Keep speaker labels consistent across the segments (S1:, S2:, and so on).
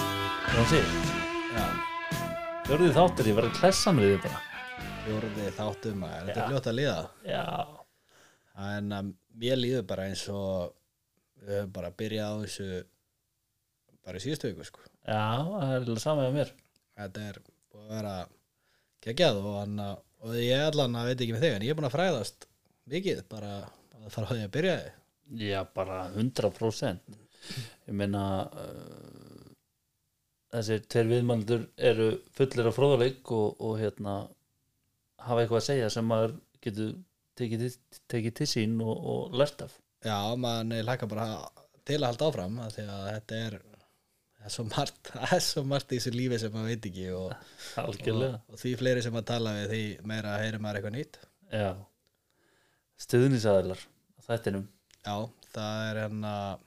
S1: um sig Fjórði þáttur, ég verði að klessa mér í því bara
S2: Fjórði þáttum að þetta
S1: Já.
S2: er fljótt að líða
S1: Já,
S2: En um, mér líður bara eins og við höfum bara byrjað á þessu bara í síðustu viku sko.
S1: já, það er lilla samið að mér
S2: Þetta er búið að vera geggjað og, hann, að- og ég allan að veit ekki með þig en ég er búin að fræðast mikið bara að fara á því að byrja því
S1: Já, bara 100% Ég meina uh, þessir tveir viðmældur eru fullir af fróðuleik og, og hérna hafa eitthvað að segja sem maður getur tekið, til- tekið til sín og, og lært af
S2: Já, maður neður lækka bara til að halda áfram af því að þetta er, það er svo margt, það er svo margt í þessu lífi sem maður veit ekki og, og,
S1: Algjörlega
S2: og því fleiri sem maður tala við því meira heyrir maður eitthvað nýtt
S1: Já Stuðnisæðilar Þættinum
S2: Já, það er hann að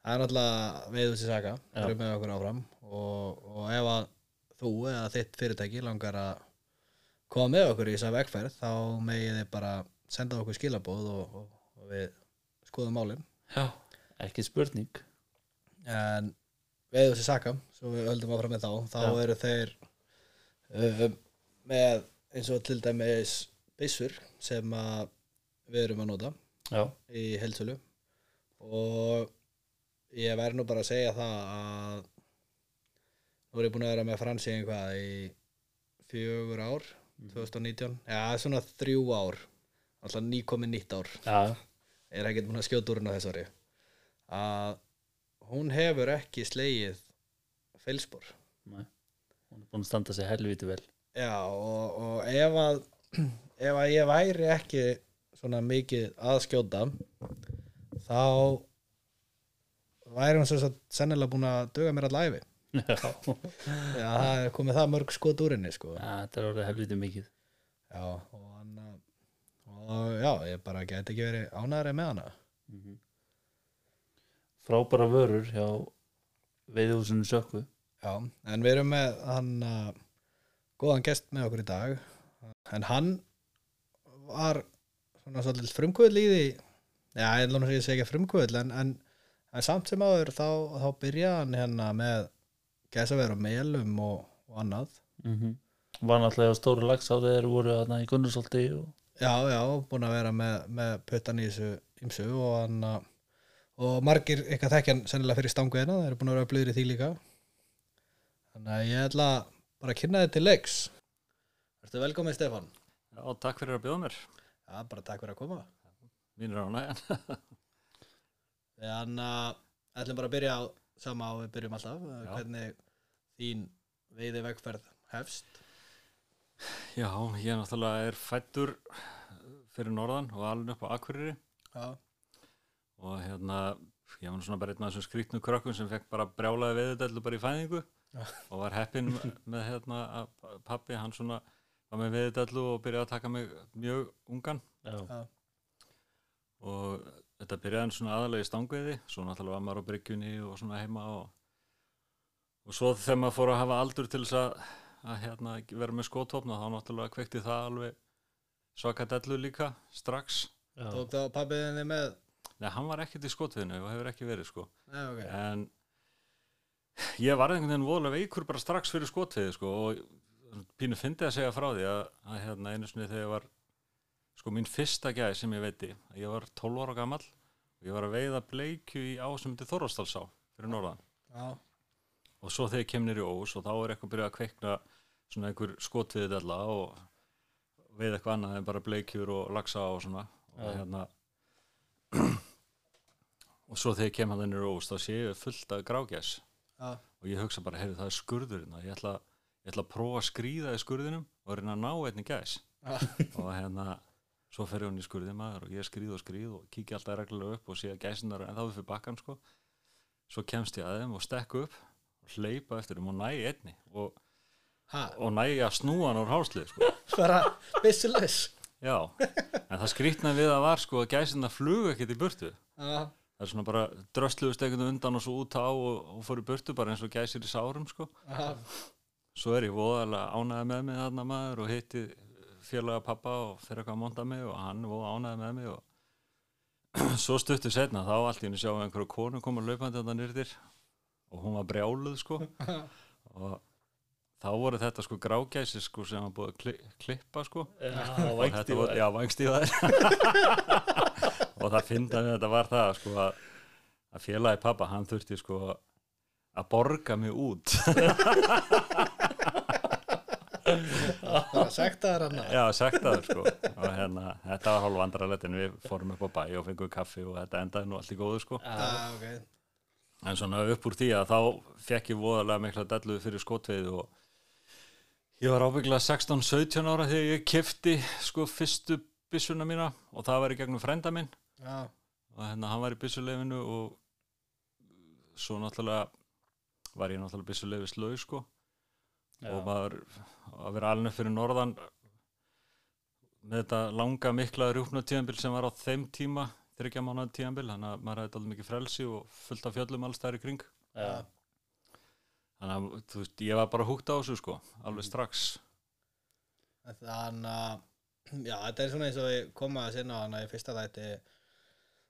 S2: það er náttúrulega veið þessi saga
S1: Já.
S2: erum með okkur áfram og, og ef að þú eða þitt fyrirtæki langar að koma með okkur í þessa vegferð þá megið þið bara senda okkur skilabóð og, og, og við skoðum málin
S1: Já Ekki spurning
S2: en veið þessi saga svo við höldum áfram með þá þá
S1: Já.
S2: eru þeir um, með eins og til dæmis byssur sem að við erum að nota
S1: Já
S2: í heilsölu og ég verð nú bara að segja það að nú er ég búin að vera með fransi einhvað í fjögur ár 2019, já svona þrjú ár alltaf nýkomin nýtt ár
S1: Já
S2: er ekkert búin að skjóta úr hún á þess ári að hún hefur ekki slegið feilspor
S1: Nei. Hún er búin að standa sig helviti vel
S2: já og, og ef að ef að ég væri ekki svona mikið að skjóta þá væri hún svo svo sennilega búin að duga mér allæfi
S1: Já
S2: já, það er komið það mörg skot úr henni sko
S1: Þetta er orðið helviti mikið
S2: já, og hann og já, ég bara gæti ekki verið ánæri með hana
S1: Frábæra vörur hjá veiðhúsinu sökku
S2: Já, en við erum með hann uh, góðan gest með okkur í dag en hann var svona svolítið frumkvöðl í því já, ég lóna að ég segi ekki frumkvöðl en, en, en samt sem áður þá, þá byrjaði hann hérna með gæsaver og melum og, og annað
S1: mm Var náttúrulega á stóru lags á þeir voru þarna í Gunnarsolti og...
S2: Já, já, búin að vera með, með puttan í þessu ymsu og hann uh, og margir eitthvað þekkjan sennilega fyrir stanguðina, það eru búin að vera blöðri því líka þannig að ég ætla bara að kynna þið til leiks Ertu velkomin Stefan?
S3: Já, takk fyrir að bjóða mér.
S2: Já, bara takk fyrir að koma
S3: Mín er ánægjan.
S2: Við hann uh, ætlum bara að byrja á sama og við byrjum alltaf já.
S3: Já.
S2: hvernig þín veiði vegferð hefst
S3: Já, ég náttúrulega er fættur fyrir norðan og alveg upp á Akureyri
S2: Já,
S3: og hérna, ég var nú svona bara einn af þessum skrýtnu krökkum sem fekk bara brjálaði veðudellu bara í fæðingu
S2: Já.
S3: og var heppinn með hérna að pappi, hann svona var með veðudellu og byrjaði að taka mig mjög ungan
S1: Já,
S2: já,
S3: og þetta byrjaði svona aðalega í stangveiði svo náttúrulega var maður á bryggjunni og svona heima og, og svo þegar maður fór að hafa aldur til þess að, að hérna, vera með skótopna þá náttúrulega kveikti það alveg svaka dellu líka strax
S1: já.
S2: tók þá pappiðinni með
S3: Nei, hann var ekkert í skotviðinu og hefur ekki verið sko
S2: Nei, ok, já,
S3: en ég var einhvern veginn voðalega veikur bara strax fyrir skotviði sko og pínu fyndi að segja frá því að, að hérna, einu sinni þegar ég var sko mín fyrsta gæði sem ég veiti ég var 12 ára gamall og ég var að veiða bleikju í á sem myndi Þorvastalsá fyrir norðan
S2: já,
S3: og svo þegar ég kemnir í ós og þá er eitthvað byrjað að kveikna svona einhver skotviðið alla og veið eitthvað annað en bara bleikjur og laxa og svona og
S1: Já.
S3: hérna og svo þegar ég kem hann inn í ós þá sé ég fullt af grágæs og ég hugsa bara, heyrðu það er skurðurinn og ég ætla, ég ætla að prófa að skrýða í skurðinum og reyna að ná einni gæs
S2: já,
S3: og hérna, svo fer ég hún í skurði maður og ég skrýð og skrýð og kíkja alltaf reglulega upp og sé að gæsin er ennþá fyrir bakkan sko. svo kemst ég að þeim og stekk upp og hleypa eftir þeim og næ í einni og,
S2: ha,
S3: og næ ég að snúa hann úr hálslið sko.
S2: bara byssulös
S3: já, en það skrýtna við að var sko að gæsina flugu ekkert í burtu
S2: Já,
S3: það er svona bara drösluðust ekkert undan og svo út á og, og fór í burtu bara eins og gæsir í sárum sko.
S2: já,
S3: svo er ég voðalega ánæði með mig þarna maður og hitti félaga pappa og fyrir eitthvað að monta mig og hann voða ánæði með mig og svo stuttu setna þá allt í henni sjáum við einhverju konu koma laupandi þetta nýrðir og hún var brjáluð sko og þá voru þetta sko grágæsi sko sem var búið að kli, klippa sko
S1: Já,
S3: og þetta var, já, vangstífaðir og það fynda við þetta var það sko að, að félagi pappa, hann þurfti sko að borga mig út
S2: það var sagt að hann
S3: já, sektaður sko og hérna, þetta var hálf vandralett en við fórum upp á bæ og fengum kaffi og þetta endaði nú allt í góðu sko
S2: ah, okay.
S3: en svona upp úr því að þá fekk ég voðalega mikla dellu fyrir skotveið og ég var ábygglega 16-17 ára þegar ég kefti sko fyrstu byssuna mína og það var í gegnum frenda minn
S2: já,
S3: og hérna hann var í byssuleifinu og svo náttúrulega var ég náttúrulega byssuleifis lög sko og maður að vera alveg fyrir norðan með þetta langa mikla rjúpna tíðanbíl sem var á þeim tíma þryggja mánuða tíðanbíl þannig að maður hafði alveg mikið frelsi og fullt af fjöllum alls þær í kring
S1: já,
S3: þannig að þú veist, ég var bara húgt á þessu sko alveg strax
S2: þannig að já, þetta er svona eins og við koma að sinna hann að í fyrsta þætti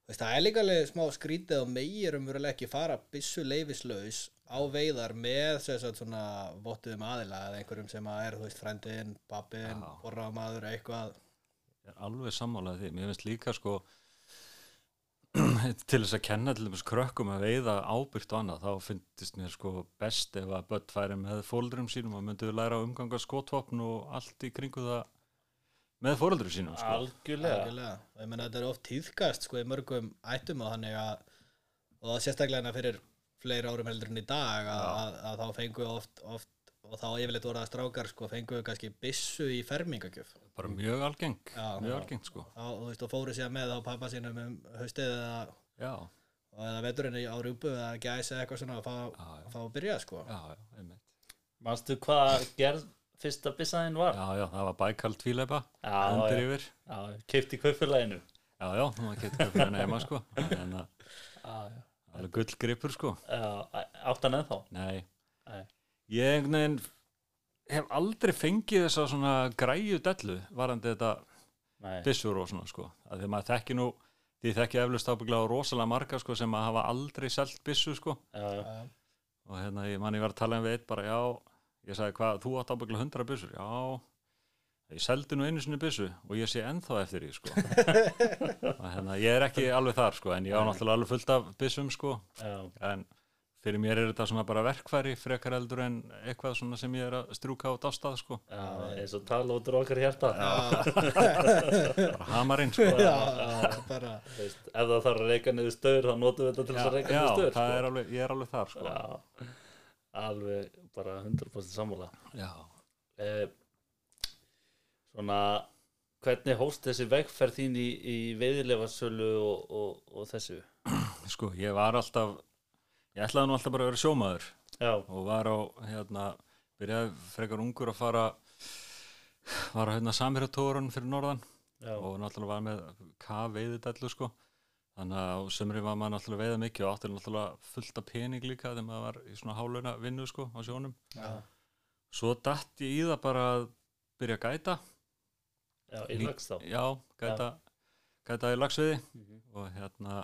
S2: Þú veist, það er líka alveg smá skrítið og meir umverulega ekki fara byssu leifislaus á veiðar með þess að svona vottuðum aðila eða einhverjum sem að er, þú veist, frendin, pappin
S3: Já.
S2: borraðamaður, eitthvað
S3: Ég er alveg sammálaðið því. Mér finnst líka sko til þess að kenna til þess krökkum að veiða ábyrgt og annað þá finnst mér sko best ef að börn færi með fóreldrum sínum og myndu læra að umganga skotvopn og allt í kringu það með fóreldrum sínum sko.
S1: algjörlega
S2: Algjörlega. og ég meina þetta er oft tíðkast sko í mörgum ættum og þannig að og það sérstaklega hérna fyrir fleiri árum heldur en í dag að, að, að þá fengu oft, oft og þá yfirleitt voru það strákar sko fengu kannski byssu í fermingagjöf
S3: bara mjög algeng,
S2: Já.
S3: mjög algengt sko
S2: þá, þú veist, og fóru síðan með á pappa sínum um haustið eða,
S3: já,
S2: og eða veturinn á rjúpu eða gæs eða eitthvað svona að fá,
S3: já, já,
S2: fá að byrja sko
S3: já, já, einmitt.
S1: manstu hvað gerð fyrsta byssaðin var
S3: já, já, það var bækald tvíleipa
S1: Já,
S3: undir
S1: já.
S3: yfir
S1: já, keipt í kaupfélaginu
S3: já, já, það getur fyrir henni heima sko en það
S1: já, já.
S3: er gullgripur sko
S1: já, áttan ennþá
S3: nei,
S1: Nei.
S3: Ég einhvern veginn hef aldrei fengið þessa svona græju dellu varandi þetta
S1: Nei.
S3: byssur og svona sko. Að því maður þekki nú, því þekki eflust ábygglega rosalega marga sko sem að hafa aldrei selt byssu sko.
S1: Já, já.
S2: Já.
S3: Og hérna ég mann ég var að tala um við eitt bara já, ég sagði hvað, þú átt ábygglega 100 byssur, já. Ég seldi nú einu sinni byssu og ég sé ennþá eftir því sko. og hérna ég er ekki alveg þar sko en ég á náttúrulega alveg fullt af byssum sko
S1: já,
S3: en fyrir mér er þetta svona bara verkfæri frekar eldur en eitthvað svona sem ég er að strúka á dástað sko,
S1: já, eins og tala út úr okkar hjarta
S3: bara hamarinn sko
S2: Já, bara
S1: Veist, ef það þarf að reyka niður stöður þá notum við þetta til þess að reyka
S3: já,
S1: niður stöður
S3: það er alveg, ég er alveg þar sko
S1: sko. já, alveg bara 100% sammála
S3: já,
S1: eh, svona hvernig hóst þessi vegferð þín í, í veiðilefasölu og, og, og þessu
S3: sko, ég var alltaf ég ætlaði nú alltaf bara að vera sjómaður
S1: já,
S3: og var á, hérna byrjaði frekar ungur að fara var á hérna samherjatórun fyrir norðan
S1: já,
S3: og náttúrulega var með K-veiðidallu sko þannig að á sömri var maður náttúrulega að veiða mikið og átti náttúrulega fullt af pening líka þegar maður var í svona hálauna vinnu sko á sjónum
S2: já,
S3: svo datt ég í það bara að byrja að gæta
S1: já, í lags þá
S3: já, gæta, gæta í lagsviði og hérna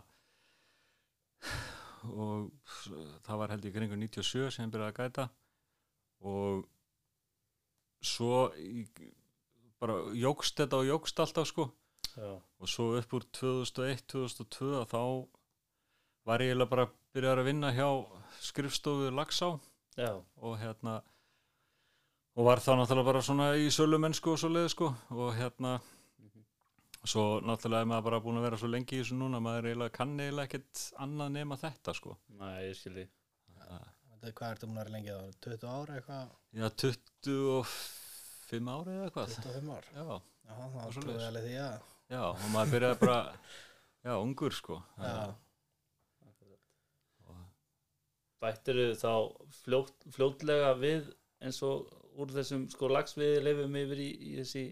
S3: og s- það var held ég kringu 97 sem ég byrjaði að gæta og svo í- bara jógst þetta og jógst alltaf sko
S1: já,
S3: og svo upp úr 2001-2002 að þá var ég eiginlega bara byrjaði að vinna hjá skrifstofu Lagsá
S1: já,
S3: og hérna og var þá náttúrulega bara svona í sölu mennsku og svo leið sko og hérna svo náttúrulega er maður bara búin að vera svo lengi í þessu núna maður eiginlega kann eiginlega ekkert annað nema þetta sko
S1: næ, ég skilji
S2: Þetta er- hvað ertu múnar lengi þá? 20 ára eitthvað,
S3: já 25 ári eða hvað
S2: 25 ár
S3: já,
S2: Já, þá
S3: Og
S2: trúið
S3: svoleiðis.
S2: alveg því að
S3: já og maður byrjaði bara já ungur sko
S2: Já,
S1: bættir þá fljótt, fljótlega við eins og úr þessum sko lagsveiðileifum yfir í, í þessi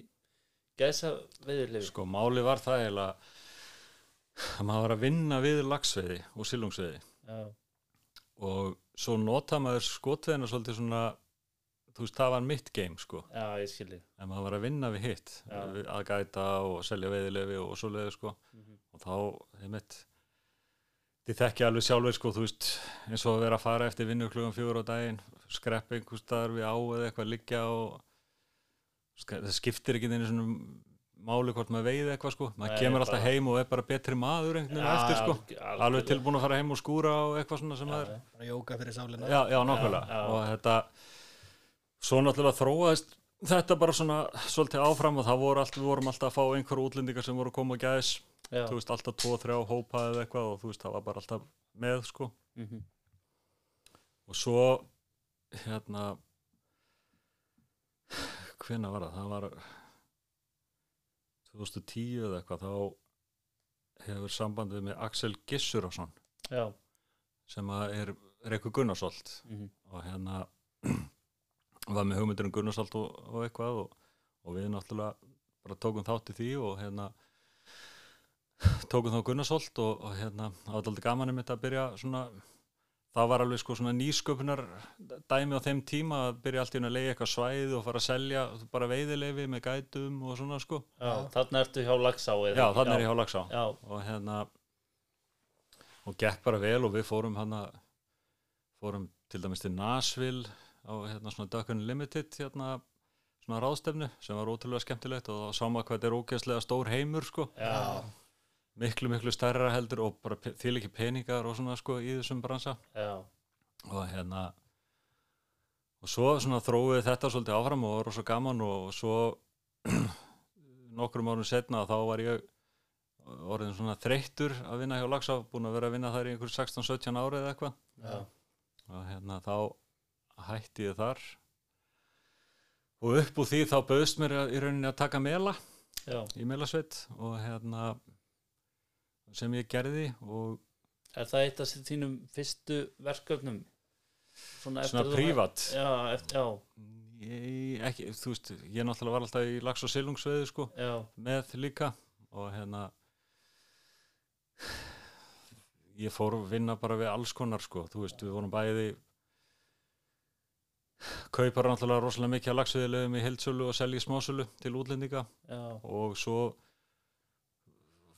S1: gæsa veiðileif
S3: sko máli var það eiginlega að maður var að vinna við lagsveiði og silungsveiði
S1: já,
S3: og svo nota maður skotveðina svolítið svona þú veist það var mitt game sko
S1: já, ég skilji
S3: en maður var að vinna við hitt
S1: Já.
S3: við að gæta og selja veiðilefi og svoleiði sko
S1: Mhm.
S3: og þá, einmitt þið þekki alveg sjálfur sko, þú veist, eins og að vera að fara eftir vinnu klugum fjögur á daginn, skreppa einhvers staðar við á eða eitthvað liggja og sk- það skiptir ekki einu svona máli hvort maður veið eitthvað sko, maður
S1: Nei,
S3: kemur alltaf
S1: bara-
S3: heim og er bara betri maður einhvern veginn
S1: Ja,
S3: eftir sko,
S1: alg-
S3: alveg,
S1: algjörlega.
S3: tilbúin að fara heim og skúra og eitthvað svona sem maður
S2: bara jóka fyrir sálina
S3: já, já, nákvæmlega
S1: Já, já.
S3: og þetta svo náttúrulega þróaðist þetta bara svona svolítið áfram og það voru allt, við vorum alltaf að fá einhverja útlendingar sem voru að koma og gæðis
S1: Já.
S3: þú veist, alltaf tvo, þrjá hópa eða eitthvað og þú veist, það var bara alltaf með sko
S1: Mhm.
S3: og svo hérna hvena var það, það var 2010 eða eitthvað þá hefur sambandið með Axel Gissurásson
S1: Já.
S3: sem að er Reykjavík Gunnarsholt
S1: Mhm.
S3: og hérna var með hugmyndir um Gunnarsholt og, og eitthvað og, og við náttúrulega bara tókum þátt í því og hérna tókum þá Gunnarsholt og, og hérna það var alltaf gaman um þetta að byrja svona það var alveg sko svona nýsköpunar dæmi á þeim tíma að byrja allt í einu að leiða eitthvað svæð og fara að selja bara veiðileifi með gætum og svona sko
S1: Já. Þannig ertu hjá Lagsá eða
S3: já
S1: ekki?
S3: þannig er ég á Lagsá
S1: Já.
S3: og hérna og gekk bara vel og við fórum hana fórum til dæmis til Nashville á hérna svona Duck Unlimited hérna svona ráðstefnu sem var ótrúlega skemmtilegt og þá sá maður hvað þetta er ógeðslega stór heimur sko
S1: Já.
S3: miklu miklu stærra heldur og bara til ekki peningar og svona sko í þessum bransa
S1: Já.
S3: og hérna og svo svona þróið þetta svolítið áfram og var svo gaman og svo nokkrum árum setna þá var ég orðin svona þreyttur að vinna hjá Laxá búin að vera að vinna þar í einhver 16-17 ári eða eitthvað
S1: Já.
S3: og hérna þá hætti ég þar og upp úr því þá bauðst mér að- í rauninni að taka mela
S1: Já.
S3: í melasveit og hérna sem ég gerði og
S1: Er það eitt af þínum fyrstu verkefnum? Svona, eftir
S3: svona
S1: þú-
S3: prívat
S1: Já, eftir, já,
S3: Ég, ekki, þú veist, ég náttúrulega var alltaf í lax og silungsveðu sko,
S1: já,
S3: með líka og hérna ég fór að vinna bara við alls konar sko, þú veist, við vorum bæði kaupar náttúrulega rosalega mikið að lagsveðilegum í heildsölu og selja í smásölu til útlendinga
S1: já,
S3: og svo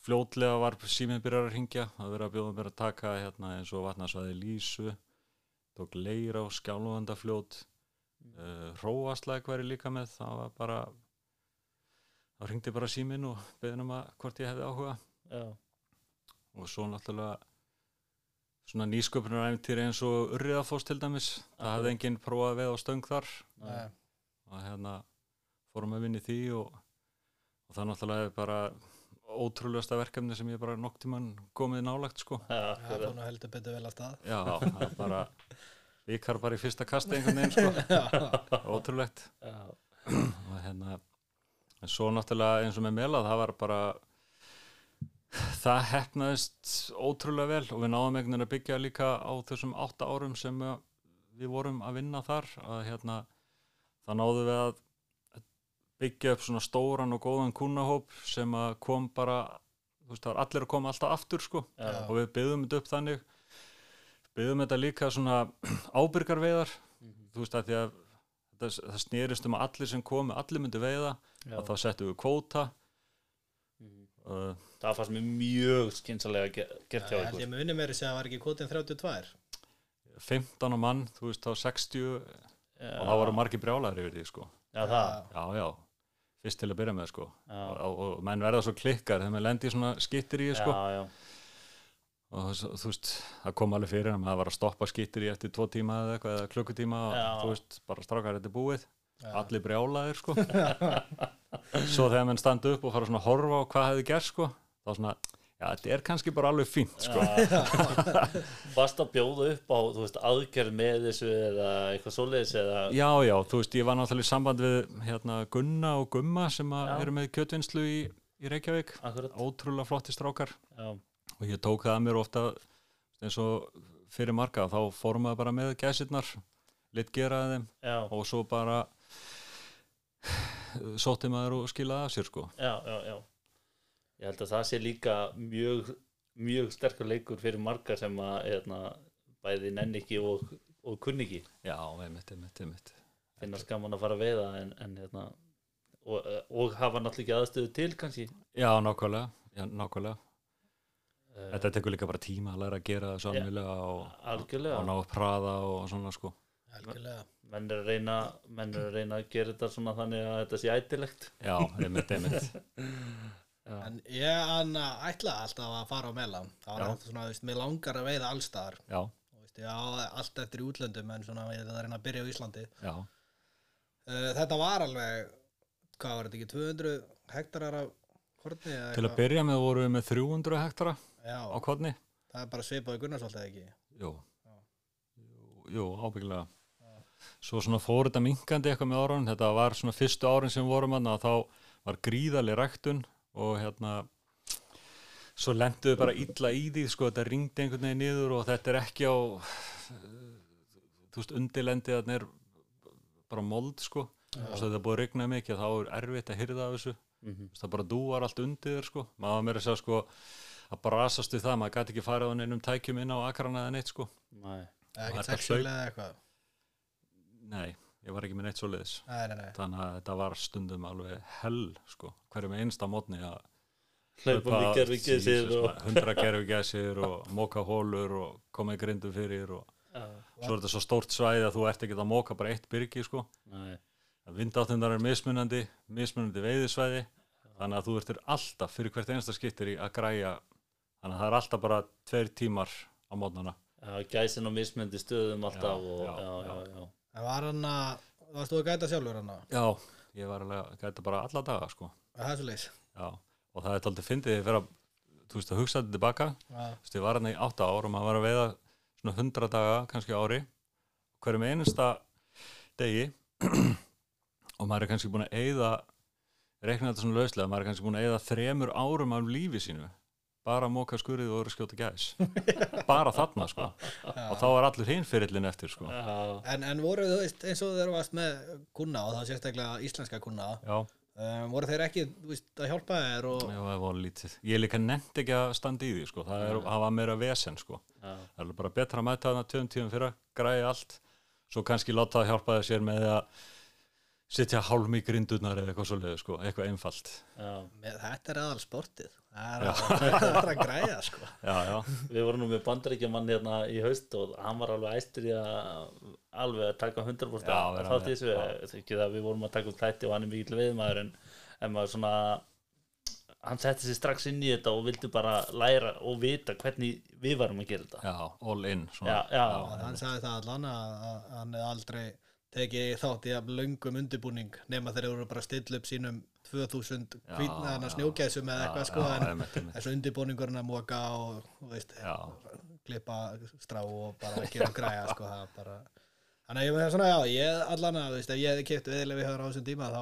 S3: fljótlega var síminn byrjar að ringja að vera að bjóða mér að taka hérna eins og vatnasvæði Lísu tók leira á skjálfandafljót uh, hróaslæk væri líka með það var bara þá ringdi bara síminn og beðin um að hvort ég hefði áhuga
S1: já,
S3: og svo náttúrulega svona nýsköpunaræmtir eins og Urriðafoss til dæmis það hafði enginn prófað veð á stöng þar
S1: já,
S3: og hérna fórum að vinna í því og, og það náttúrulega er bara ótrúlegasta verkefni sem ég bara nokk tíman komið nálagt sko
S1: já,
S2: það er
S1: akkurat.
S2: búin að heldur betur vel að stað
S3: já, það er bara vikar bara í fyrsta kasti einhvern veginn sko ótrúlegt
S1: já,
S3: og hérna en svo náttúrulega eins og með melað það var bara það hefnaðist ótrúlega vel og við náðum einhvern veginn að byggja líka á þessum átta árum sem uh, við vorum að vinna þar að hérna það náðum við að byggja upp svona stóran og góðan kúnahóp sem að kom bara þú veist það var allir að koma alltaf aftur sko
S1: já,
S3: og við byggðum þetta upp þannig byggðum þetta líka svona ábyrgar veiðar
S1: Mhm.
S3: þú veist að því að það, það snerist um að allir sem komu allir myndu veiða
S1: já.
S3: að þá settum við kvóta
S1: Mhm.
S3: uh,
S1: Það fannst mér mjög skynsalega ge- gert hjá
S2: ég
S1: ykkur
S2: held ég muni meiri segja að það var ekki kvotin 32
S3: 15 á mann, þú veist þá 60 og það voru margir brjálæður yfir því sko
S1: Já, það,
S3: já já, fyrst til að byrja með sko
S1: já,
S3: og, og, og menn verða svo klikkar þegar menn lendi í svona skittir í sko
S1: já, já,
S3: og svo- þú veist, það kom alveg fyrir að maður var að stoppa skittir í eftir tvo tíma eða eitthvað eða klukkutíma og
S1: Já.
S3: þú veist, bara strákar þetta er búið
S2: Já.
S3: allir brjálaðir sko svo þegar menn standa upp og fara svona að horfa á hvað hefði gert sko þá svona, já þetta er kannski bara alveg fínt sko
S1: já. Varst að bjóða upp á, þú veist, aðgerð með þessu eða eitthvað svoleiðis eða
S3: já já, þú veist, ég var náttúrulega í samband við hérna Gunna og Gumma sem að
S1: Já.
S3: eru með kjötvinnslu í, í Reykjavík
S1: Akkurat,
S3: ótrúlega flotti strákar
S1: já,
S3: og ég tók það að mér ofta eins og fyrir marga, þá fór maður bara með gæsirnar, lit geraði þeim
S1: já,
S3: og svo bara sótti maður og skilaði af sér sko
S1: já, já, já Ég held að það sé líka mjög, mjög sterkur leikur fyrir marga sem að, hérna, bæði nenni ekki og, og kunni ekki
S3: já, einmitt, einmitt, einmitt
S1: finnast gaman að fara að veiða en, en hérna og, og hafa náttúrulega ekki aðstöðu til kannski
S3: já, nákvæmlega, já, nákvæmlega
S1: uh,
S3: Þetta tekur líka bara tíma að læra að gera það sannlega og,
S1: algjörlega
S3: og ná að praða og svona sko.
S2: algjörlega
S1: menn er, að reyna, menn er að reyna að gera þetta svona þannig að þetta sé ætilegt
S3: Já, einmitt, einmitt.
S2: en ég hann ætlaði alltaf að fara á melan það var
S3: Já.
S2: alltaf svona, þú veist, mér langar að veiða allstaðar
S3: Já,
S2: Þú veist, ég á allt eftir í útlöndum en svona, ég það er að byrja á Íslandi
S3: já,
S2: uh, þetta var alveg hvað var þetta ekki, 200 hektarar af korni eða
S3: til að
S2: eitthvað?
S3: byrja með vorum við með 300 hektara á
S2: Já,
S3: kodni.
S2: það er bara svipaði Gunnarsvall eða ekki
S3: Jú, Jú, jú ábyggilega. Svo svona fór þetta minkandi eitthvað með árun, þetta var svona fyrstu árin sem við vorum hann að þá var gríðaleg rektun og hérna svo lendu við bara illa í því sko, þetta ringdi einhvern veginn niður og þetta er ekki á þú veist, undirlendið þarna er bara mold sko, svo þetta er búið að regna mikið þá er erfitt að hyrða af þessu
S1: Mhm.
S3: það bara dúar allt undir þér, sko maður meira að segja sko að brasast við það, maður gæti ekki farið á neinum tækjum inn á akrana eða neitt sko
S1: Næ,
S2: eða
S3: Það er
S2: ekki
S3: bara
S2: sexuál eða eitthvað
S3: nei, ég var ekki með neitt svoleiðis
S2: nei, nei, nei.
S3: þannig að þetta var stundum alveg hell sko, hverjum einsta mótni að
S1: hlaupa líkar við
S3: Jesus,
S1: gæsir og
S3: maður, hundra gerfi gæsir og móka hólur og koma í grindum fyrir og
S1: Já,
S3: svo er þetta svo stórt svæði að þú ert ekki að móka bara eitt byrgi sko
S1: nei,
S3: vindáttundar er mismunandi, mismunandi veiðisvæði þannig að þú ertir alltaf fyrir hvert einasta skiptir í að græja þannig að það er alltaf bara tveir tímar á mótnana
S1: já, gæsin á mismöndi stöðum alltaf
S3: Já,
S1: og,
S3: já,
S1: já, já,
S3: já.
S1: já,
S2: En var hann að, varst þú að gæta sjálfur hann að?
S3: já, ég var alveg að gæta bara alla daga sko
S2: Það er svo leys.
S3: já. og það er taldið fyndið þegar að þú veist að hugsa þetta tilbaka þú veist ég var hann í átta ár og maður var að veiða svona hundra daga kannski á ári hverjum einasta degi og maður er kannski búin að eyða reikna þetta svona lauslega, maður er kannski búin að eyða þremur árum af lífi sínu bara að móka skurðið og voru að skjóta gæs bara þarna sko og þá var allur hinn fyrirlin eftir sko já,
S1: já,
S2: En, en voru þú veist, eins og þeir varst með kuna og þá sérstaklega íslenska kuna,
S3: já
S2: um, voru þeir ekki, þú veist, að hjálpa þér og...
S3: það var lítið ég líka nefnt ekki að standa í því sko það, er, það var meira vesen sko
S1: já,
S3: það er bara betra að mæta þarna tveim tíum fyrir græja allt, svo kannski láta það hjálpa þér sér með að sitja hálm í grindunar eða eitthvað svoleiðu sko, eitthvað einfalt
S1: já.
S2: Með, þetta er aðal sportið. Það er að, það er að græja, sko.
S3: já, já,
S1: Við vorum nú með bandaríkjumann hérna í haust og hann var alveg æstur í að alveg að taka 100%
S3: Já, vera
S1: þátt í
S3: með,
S1: þessu,
S3: já.
S1: Þau ekki það við vorum að taka upp tætti og hann er mikill veiðmaður en, en maður svona hann setti sig strax inn í þetta og vildi bara læra og vita hvernig við varum að gera þetta
S3: já, all in svona,
S1: Já, já,
S2: Og hann sagði það allan að, að hann hefði aldrei tekið þátt í að löngum undirbúning nema þeir eru bara að stilla upp sínum 2000
S3: Já,
S2: hvítna hann að
S3: já.
S2: snjókæsum eða eitthvað, sko,
S3: já,
S2: en
S3: einmitt, einmitt.
S2: þessu undirbúningurinn að móka og, þú veist,
S3: já,
S2: klippa strá og bara ekki að græja sko, það er bara þannig að ég með svona, já, ég allan að þú veist, ef ég hefði kiptu viðlega við höfður á þessum tíma þá,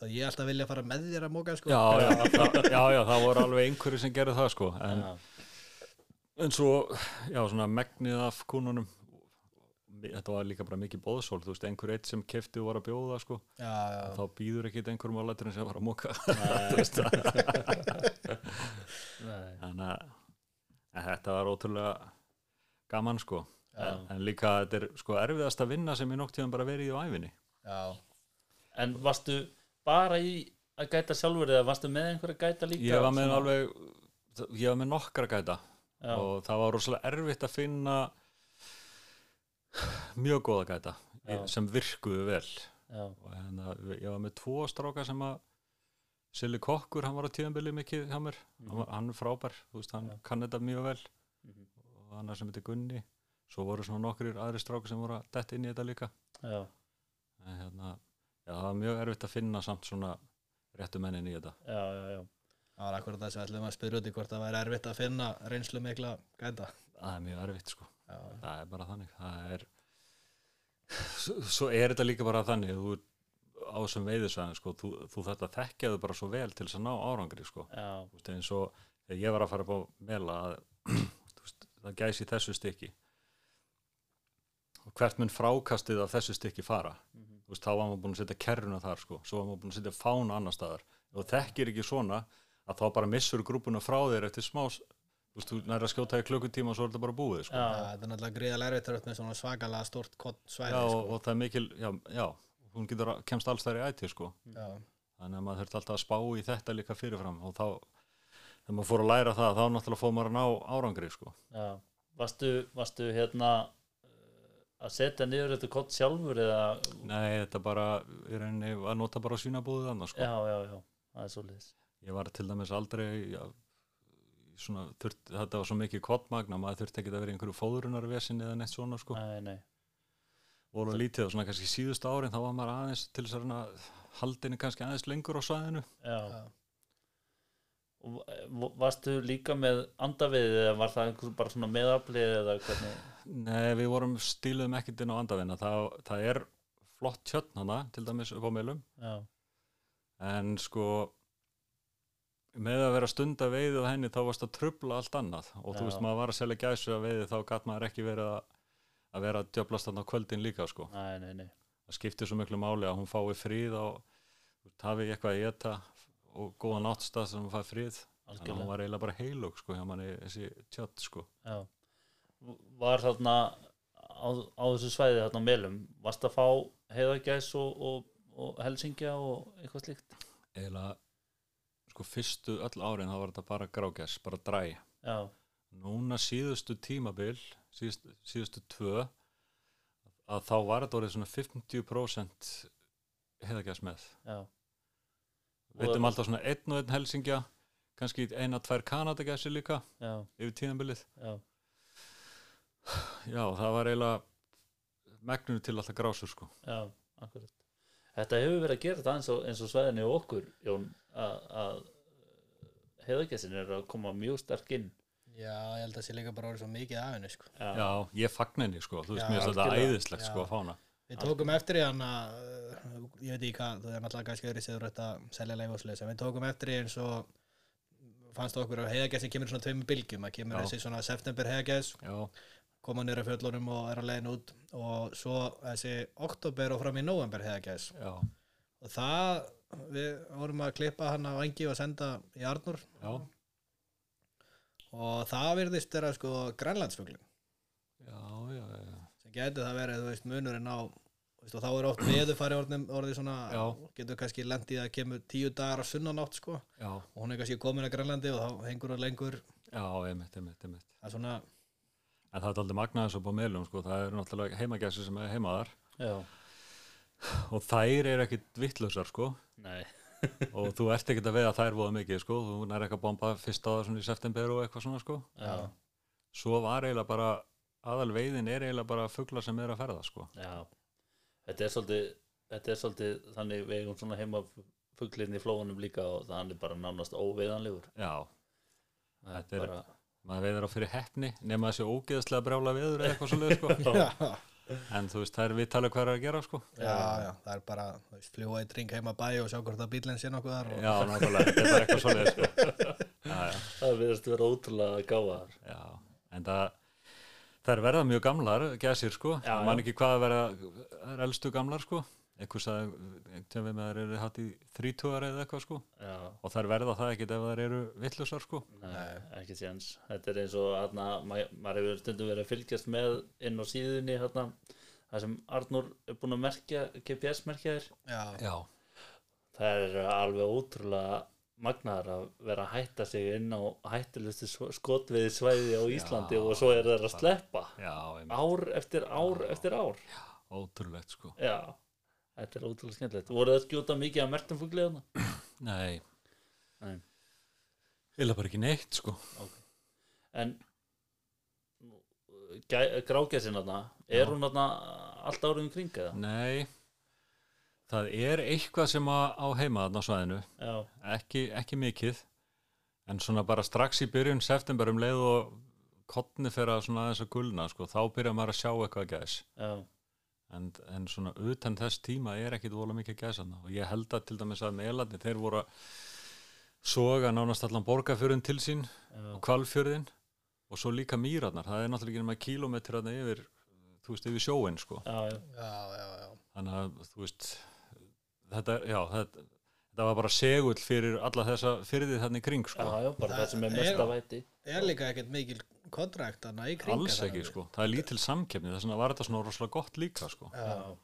S2: þá ég alltaf vilja fara með þér að móka sko.
S3: já, já, það, já, já það voru alveg einhverju sem gerðu það sko en,
S1: Já.
S3: en svo, já, svona megnið af kúnunum þetta var líka bara mikið bóðsól, þú veist, einhver eitt sem kefti og var að bjóða sko,
S2: já, já.
S3: þá býður ekki einhverjum á læturinn sem var að móka
S1: Nei,
S3: þannig að- að þetta var ótrúlega gaman sko en, en líka þetta er sko erfiðast að vinna sem ég nokk tíðan bara verið í á æfinni
S2: já.
S1: En varstu bara í að gæta sjálfur eða varstu með einhverja gæta líka?
S3: ég var með
S1: Svona-
S3: alveg ég var með nokkra gæta
S1: Já.
S3: og það var rosalega erfitt að finna mjög góða gæta
S1: Já.
S3: sem virkuðu vel
S1: Já,
S3: og hérna, ég var með tvo stráka sem að Silli Kokkur, hann var á tíðanbili mikið hjá mér, hann, var, hann er frábær þú veist, hann kann þetta mjög vel og annar sem heitir Gunni svo voru svona nokkur aðri stráka sem voru að detta inn í þetta líka
S1: já,
S3: en hérna, já, það var mjög erfitt að finna samt svona réttu mennin í þetta
S1: já, já, já.
S2: það var akkurat það sem við ætlum að spyrja út í hvort það væri erfitt að finna reynslu mikla gæta
S3: það er mjög erfitt sko,
S2: já,
S3: það er bara þannig það er S- svo er þetta líka bara þannig þú ert á þessum veiðisvæðin sko, þú, þú þetta þekkjaðu bara svo vel til þess að ná árangri sko,
S1: já.
S3: Þú veist, eins og þegar ég var að fara upp á mela að þú veist, það gæsi í þessu stykki og hvert mun frákastið af þessu stykki fara þú veist, þá var maður búin að setja kerruna þar sko, svo var maður búin að setja fána annar staðar og þú þekkir ekki svona að þá bara missur grúpuna frá þér eftir smá þú veist, þú nærið að skjóta í klukkutíma og svo er þetta bara búið sko.
S1: Já.
S2: þetta er náttúrulega gríðal erfitt þegar þú ert með svona svakalega stort kott
S3: já,
S2: svæði
S3: og,
S2: sko.
S3: og það er mikil já, já, hún getur að kemst alls þær í æti sko.
S2: já,
S3: þannig að maður þurft alltaf að spá í þetta líka fyrirfram og þá þegar maður fór að læra það þá náttúrulega fór maður að ná árangri sko.
S1: já. Varstu, varstu hérna eh, að setja niður þetta kott sjálfur eða
S3: Nei, þetta bara, í rauninni var nota bara svínabúðið annars sko.
S1: já, já, já, það er svolítið
S3: Ég var til dæmis aldrei, já, svona, þurft, þetta var svo mikið kottmagna, maður þurfti ekki að vera í einhverju fóðrunarvesin eða neitt svona sko.
S1: nei, nei,
S3: voru lítið og svona kannski síðustu árin þá var maður aðeins til þess að reyna að haldinu kannski aðeins lengur á svæðinu
S1: já,
S2: Já.
S1: Og va- varstu líka með andaveið eða var það einhver bara svona meðaflið eða hvernig
S3: Nei, við vorum stíluðum ekkert inn á andavinna það, það er flott tjötn hana til dæmis upp á meilum
S1: já,
S3: en sko með að vera að stunda veiðið á henni þá varst að trubla allt annað og
S1: Já.
S3: þú veist maður var að selja gæsu að veiði þá gat maður ekki verið að, að vera að djöflast þarna á kvöldin líka sko
S1: nei, nei, nei
S3: það skiptir svo miklu máli að hún fái fríð og hafi eitthvað að geta og góða náttstað sem hún fái fríð Þannig að hún
S1: algjörlega,
S3: var eiginlega bara heilug sko hjá manni þessi tjött sko.
S1: já var þarna á, á þessu svæði þarna á melum, varstu að fá heiðagæs og, og, og helsingja og eitthvað slíkt
S3: Eiginlega sko fyrstu öll árin þá var þetta bara grágæs, bara dræ.
S1: já,
S3: Núna síðustu tímabil, síðustu, síðustu tvö, að þá var þetta orðið svona 50% heiðagæs með.
S1: já,
S3: Við veitum alltaf svona einn og einn helsingja, kannski eina, tvær kanadagæsi líka
S1: já,
S3: yfir tímabilið.
S1: já
S3: Já, það var eiginlega megnunum til alltaf grásur sko.
S1: Já, akkurat. Þetta hefur verið að gera þetta eins og, eins og svæðinni og okkur, Jón, að- að heiðagæsin er að koma mjög sterk inn.
S2: Já, ég held að sé líka bara orðið svo mikið af henni sko.
S3: Já, ég fagna henni sko, þú veist,
S2: Já,
S3: mér finnst þetta
S1: algjörlega.
S3: æðislegt
S2: Já.
S3: sko að fána.
S2: Við tókum eftir í hann að ég veit ekki hvað, það er náttúrulega kannski öðru séður þetta selja leif og slis, en við tókum eftir í eins og fannst okkur að heiðagæs sem kemur í svona tveimur bylgjum, að kemur
S3: Já.
S2: þessi svona september heiðagæs,
S3: Já,
S2: koma nýra fjöllunum og er á leiðin út og svo þessi oktober og fram í november heiðagæs
S3: já.
S2: og það, við vorum að klippa hann á engi og senda í Arnur
S3: Já,
S2: og það virðist vera sko grænlandsfuglin
S3: já, já, já.
S2: sem getur það verið, þú veist, munurinn á þú veist, og þá er oft veðurfari orðið, orðið svona,
S3: Já.
S2: getur kannski lendið að kemur tíu dagar á sunnanátt sko og
S3: Já,
S2: hún er kannski komin að Grænlandi og þá hengur hún lengur
S3: já, einmitt, einmitt, einmitt.
S2: það er svona,
S3: En það er aldrei magnaðis upp á meðlum, sko, það eru náttúrulega heimagæsir sem er heimaðar
S1: Já,
S3: og þær eru ekkit vittlausar, sko,
S1: nei,
S3: og þú ert ekkit að veiða þær voða mikið, sko, þú nær ekki að bomba fyrst á það svona í september og eitthvað svona, sko.
S1: já,
S3: Svo var eiginlega bara, aðal veiðin er eiginlega bara fugla sem er að ferða, sko.
S1: já. Þetta er svolítið, þetta er svolítið þannig við eigum svona heima fuglinni í flóunum líka og það hann er bara nánast óveðanlegur.
S3: Já,
S1: Það
S3: Þetta er-
S1: bara,
S3: maður veiðir á fyrir heppni, nema þessi ógeðslega brjála veður eða eitthvað svona, sko.
S2: já,
S3: En þú veist, það er viðtalið hvað er að gera, sko.
S2: já, já, það er bara þú veist, fljúa í dring heima bæ og sjá hvort það bílinn sé nokkuð þar og
S3: Já, nákvæmlega, þetta er eitthvað svona, sko. Já, já.
S1: það verðast vera ótrúlega gáfaðar.
S3: Já, en það það er verða mjög gamlar, gæsir sko
S1: Já,
S3: já,
S1: já.
S3: man ekki hvað að verða það er elstu gamlar sko einhvers að, einhvern veginn að þær eru hatt í þrítúar eða eitthvað sko
S1: Já,
S3: og þær verða það ekkit ef þær eru vittlusar sko
S1: nei, ekki séns. Þetta er eins og hérna, ma- maður hefur stundum verið að fylgjast með inn á síðunni hérna, það sem Arnur er búin að merkja, GPS-merkja þér.
S2: já,
S3: Já,
S1: það er alveg ótrúlega magnaðar að vera að hætta sig inn á hættulegustu skotviði svæði á Íslandi og svo er það að sleppa
S3: já, einmitt,
S1: ár eftir ár eftir ár
S3: ótrúlegt sko
S1: já, þetta er ótrúlega skemmtilegt voru það að skjóta mikið að mertum fugliðana?
S3: Nei,
S1: Nei.
S3: eða bara ekki neitt sko
S1: en grákessin þarna er hún þarna allt árið um kring eða?
S3: Nei, það er eitthvað sem að á heima þarna á svæðinu
S1: já,
S3: ekki, ekki mikið en svona bara strax í byrjun september um leið og kottni fer að svona aðeins að gulna sko, þá byrja maður að sjá eitthvað gæs
S1: já,
S3: en, en svona utan þess tíma er ekkit vola mikið gæs hann og ég held að til dæmis að meðlarni þeir voru að soga nánast allan borgarfjörðin til sín
S1: já,
S3: og kvalfjörðin og svo líka mýrarnar, það er náttúrulega ekki nema kílómetri þarna yfir, þú veist, yfir sjóin sko
S1: já, já,
S2: já, já, já.
S3: þannig að þú veist þetta, já, þetta, þetta var bara segull fyrir alla þessa fyrði þannig kring sko.
S1: já, já bara það sem er mest að væti
S2: er líka ekkert mikil kontrakt hann í kringa
S3: alls ekki sko, það er lítil samkefni þess vegna var þetta svona rosalega gott líka sko.
S1: já,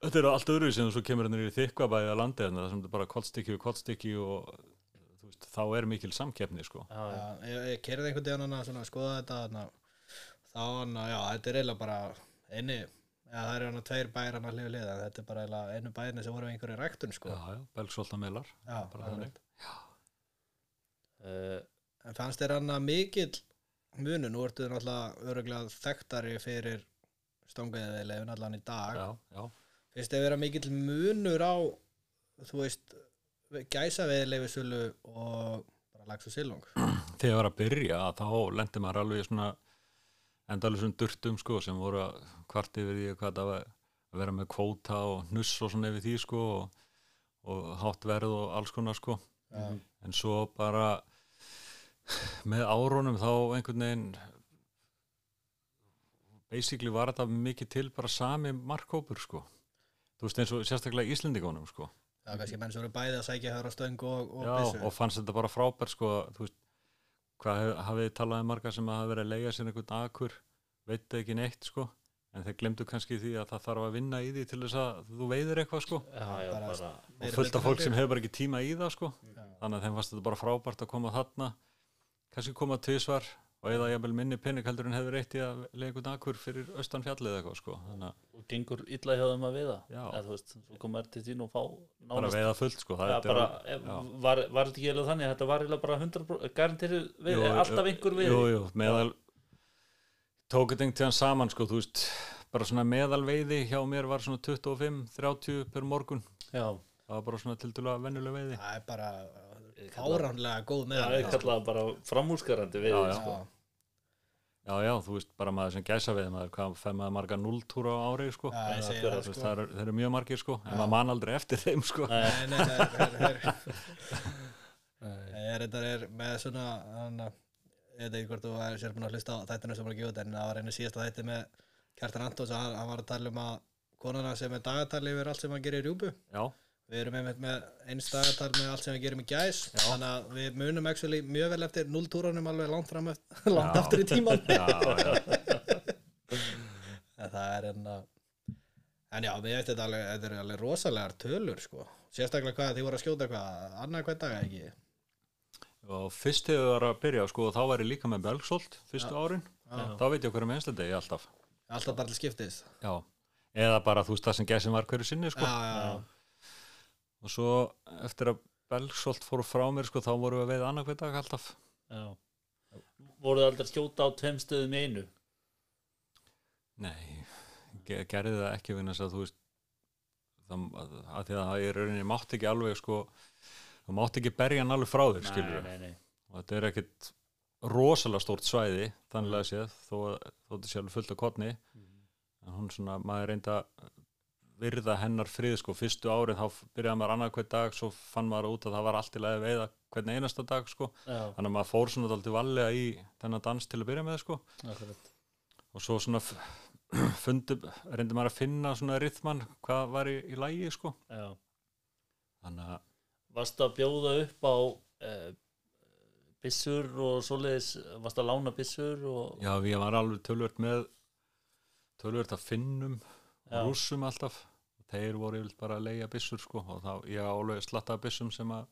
S3: þetta hérna eru allt öðru sem svo kemur hann í þykva bæði að landi þannig það sem þetta er bara kollstykki við kollstykki og þú veist, veist, þá er mikil samkeppni sko.
S1: já, já.
S2: Já, ég, ég kerði einhvern veginn hann að svona skoða þetta hana, þá hann að, já, þetta er eiginlega bara einu, já, það eru hann að tveir bæir hann að lifa liða, þetta er bara eiginlega einu bæirni sem voru við einhverju ræktun, sko
S3: Já, já, belgsóltamelar
S2: Já,
S3: bara
S2: það er
S3: þannig.
S2: rétt.
S1: Uh,
S2: en fannst þér hann að mikill munu, nú ertu náttúrulega öruglega þekktari fyrir stongaðið lefin allan í dag,
S3: já, já,
S2: finnst þér vera mikill munur á, þú veist gæsa við leifisölu og bara lags og silung
S3: þegar ég var að byrja þá lendi maður alveg í svona endalusum durtum sko sem voru að kvart yfir því hvað það var að vera með kvóta og hnuss og svona yfir því sko og, og hátt verð og alls konar sko
S2: Já.
S3: en svo bara með árunum þá einhvern veginn basically var þetta mikið til bara sami markkópur sko þú veist eins og sérstaklega Íslendingunum sko
S2: Já, kannski menn sem eru bæði að sækja höra stöng og, og
S3: Já,
S2: byssu.
S3: og fannst þetta bara frábært sko, þú veist, hvað hef- hafið þið talað um marga sem hafa verið að leiga sér einhvern akur, veit ekki neitt sko, en þeir glemdu kannski því að það þarf að vinna í því til þess að þú veiðir eitthvað sko,
S1: já, já,
S2: Bara-
S1: bara
S2: Meiri
S3: og fullt af fólk
S2: hluti
S3: sem hefur bara ekki tíma í það sko,
S2: Já.
S3: þannig að þeim fannst þetta bara frábært að koma þarna, kannski koma tvisvar og eða jafnvel minni peningaldur en hefur eitt í að leiga einhvern akur fyrir austan fjallið eitthvað sko, þannig að
S1: og gengur illa hjá þeim að veiða
S3: Já.
S1: eða þú veist, svo koma þær til þín og fá
S3: bara
S1: nánast
S3: veiða fullt sko, það
S1: Já,
S3: þetta er
S1: bara,
S3: alveg-
S1: ef-
S3: já.
S1: var, var þetta ekki eða þannig að þetta var eða bara 100% garantirðu við,
S3: Jú,
S1: alltaf
S3: jú,
S1: einhver við
S3: Jú, jú, meðal tók þetta einhvern tíðan saman sko, þú veist, bara svona meðal veiði hjá mér var svona 25-30 per morgun,
S1: já,
S3: það var bara svona tildulega vennuleg veiði
S2: Það er bara fáránlega góð með
S1: það er kallað bara framúrskarandi við
S3: Já, já.
S1: Sko.
S3: Já, já, þú veist, bara maður sem gæsa veið maður, hvað fær maður marga núltúra á ári sko,
S2: Já, ég segi
S3: þú
S2: það
S3: veist,
S2: sko.
S3: það eru, þeir eru mjög margir sko en maður man aldrei eftir þeim sko
S1: Nei.
S2: Nei, nei, það er- það er- það
S1: Nei.
S2: er- þetta er með svona, þannig að, ég veit ekki hvort þú er sér búin að hlusta á þættinu sem var að gefa þetta, en það var einu síðasta þætti með Kjartan Antons, hann, hann var að tala um að konana sem er dagatali yfir allt sem hann gerir í rjúbu.
S3: Já,
S2: Við erum einmitt með eins dagatal með allt sem við gerum í gæs, þannig að við munum actually mjög vel eftir núltúranum alveg langt fram, eft- langt
S3: Já.
S2: aftur í tíman.
S3: já, já,
S2: en það er enna en já, mér veit þetta alveg, þetta eru alveg rosalegar tölur sko, sérstaklega hvað þið voru að skjóta hvað, annað hvern dag ekki
S3: og fyrst þegar það var að byrja sko, þá var ég líka með belgsolt fyrstu árin,
S1: Já.
S3: þá veit ég hverju með einslega degi alltaf
S2: alltaf bara til skiptis já,
S3: Já, eða bara þú veist það sem gæsin var hverju sinni sko.
S2: já, já,
S3: og svo eftir að Belgsolt fór frá mér sko þá vorum við að veiða annað hver dag alltaf
S1: Já. voruð aldrei að skjóta á tveim stöðum í einu
S3: Nei, ge- gerði það ekki vegna þess að þú veist það, að, að því að það er rauninni mátt ekki alveg sko þú mátt ekki berja hann alveg frá þér
S1: nei,
S3: skilur
S1: nei, nei.
S3: og þetta er ekkit rosalega stórt svæði þannig að séð þó að þó þetta sé alveg fullt af kotni en hún svona, maður reynda virða hennar frið sko, fyrstu árið þá f- byrjaði maður annað hver dag svo fann maður út að það var allt í lagi að veiða hvern einasta dag sko,
S1: Já,
S3: þannig að maður fór svona daldið vallega í þennan dans til að byrja með sko
S1: akkurat.
S3: og svo svona f- fundi, reyndi maður að finna svona rithman, hvað var í, í lagi sko,
S1: Já.
S3: þannig að
S1: varstu að bjóða upp á uh, byssur og svoleiðis, varstu að lána byssur og
S3: já, ég var alveg tölvört með tölvört að finnum
S1: Já.
S3: og rússum alltaf þeir voru yfirleitt bara að leigja byssur sko og þá, ég álega slattaði byssum sem að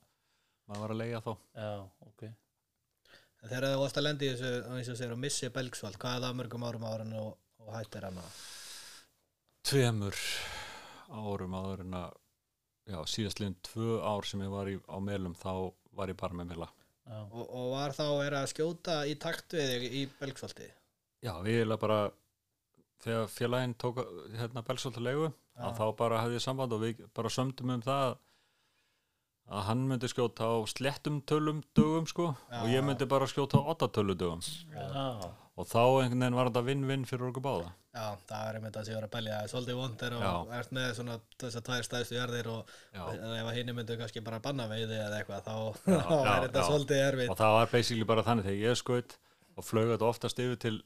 S3: maður var að leigja þá
S1: Já, ok
S2: En þegar þið varst að lenda í þessu eins og segir að missi belgsvald, hvað er það mörgum árum árun og, og hættir hann að
S3: tveimur árum áður en að já, síðast liðin tvö ár sem ég var í, á meðlum þá var ég bara með meðla
S1: Já,
S2: og, og var þá er að skjóta í takt við þig í belgsvaldi
S3: já, við erum bara þegar félaginn tók að- hérna Belsólt að leigu að þá bara hefði ég samband og við bara sömdum um það að hann myndi skjóta á slettum tölum dögum sko
S2: Já.
S3: og ég myndi bara skjóta á ottatölu dögum
S1: já,
S3: og þá einhvern veginn var þetta vinn-vinn fyrir okkur báða
S2: Já, það er einmitt að séu að belja það er svolítið vondir og
S3: Já.
S2: ert með svona þess að tvær stæðstu jarðir og
S3: Já.
S2: eða ef að hinni myndu kannski bara banna veiði eða eitthvað þá, þá
S3: já,
S2: er þetta
S3: já.
S2: svolítið erfitt
S3: og það var basically bara þannig þegar ég skaut og flög þetta oftast yfir til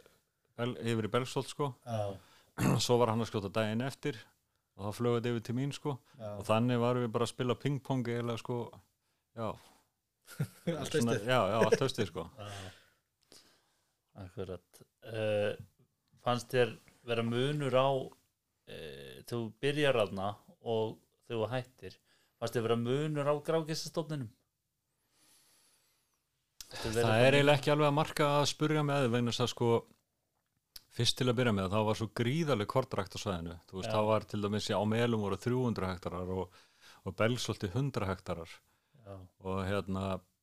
S3: Bel- yfir í Belsolt sko
S1: já,
S3: svo var hann að skjóta daginn eftir og þá flög þetta yfir til mín sko
S2: Já.
S3: og þannig varum við bara að spila ping-pong eða sko já,
S2: Allt veist
S3: já, já, allt höstið sko
S1: já. Akkurat uh, Fannst þér vera munur á uh, þú byrjar aðna og þú hættir Fannst þér vera munur á grákessastofninum?
S3: það er eiginlega ekki alveg að marka að spurja með vegna þess að sko fyrst til að byrja með þá var svo gríðaleg kortrakt á svæðinu, þú veist,
S1: Já.
S3: þá var til dæmis á melum voru 300 hektarar og, og belsolti 100 hektarar
S1: Já,
S3: og hérna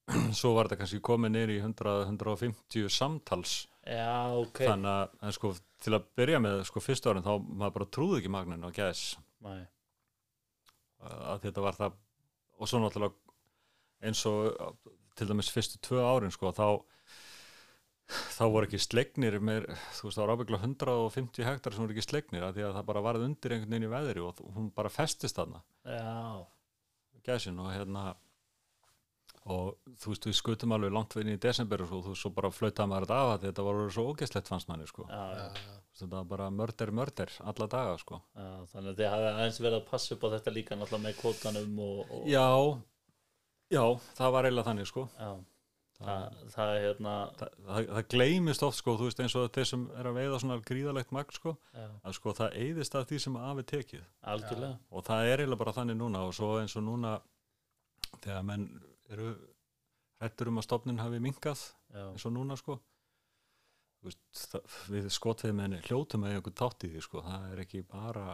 S3: svo var þetta kannski komið niður í 100-150 samtals
S1: já ok
S3: þannig að en sko til að byrja með sko fyrstu árin þá maður bara trúði ekki magninu á gæðis
S1: Nei.
S3: að þetta var það og svo náttúrulega eins og uh, til dæmis fyrstu tvö árin sko þá þá voru ekki slegnir með, þú veist það var ábyggla 150 hektar sem voru ekki slegnir að því að það bara varð undir einhvern veginn í veðri og þ- hún bara festist þarna
S1: Já,
S3: gæsin og hérna og þú veist við skutum alveg langt veginn í desember og svo, þú veist svo bara flautaði maður þetta af að þetta var orðið svo ógeðslegt fannst manni sko
S1: já,
S2: Ah,
S1: já,
S3: þetta var bara mörder mörder alla daga sko
S1: já, þannig að þið hafði aðeins verið að passa upp á þetta líka náttúrulega með kvotanum og, og
S3: já, já, það var eiginlega þannig sko
S1: já. Það, það er hérna
S3: það, það, það gleymist oft sko, þú veist eins og þeir sem er að veiða svona gríðalegt magn sko,
S1: já,
S3: að sko það eyðist að því sem af er tekið
S1: algjörlega
S3: og það er eiginlega bara þannig núna og svo eins og núna þegar menn eru hrettur um að stofnin hafi minkað
S1: já,
S3: eins og núna sko Þú veist, það, við skotveðmenni hljótum að einhvern tátt í því sko, það er ekki bara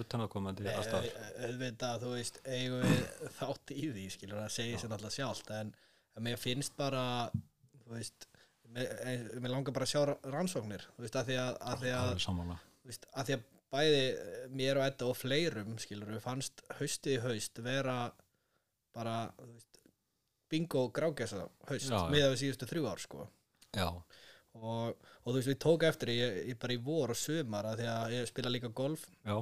S3: utanakomandi
S2: Eh,
S3: alltaf
S2: auðvitað, þú veist, eigum við þátt í því, skilur, það segir sér náttúrulega sjálft en, en mér finnst bara þú veist, mér, eh, mér langar bara að sjá ra- rannsóknir, þú veist, að því að, að, því að,
S3: alveg sammála
S2: þú veist, að því að bæði eh, mér og Edda og fleirum, skilur, við fannst haustið í haust vera bara, þú veist, bingo grágæsa haust,
S3: Já, já.
S2: miðað við síðustu þrjú ár, sko
S3: já,
S2: og, og þú veist, við tók eftir því, ég, ég bara í vor og sumar að því að ég spila líka golf
S3: já,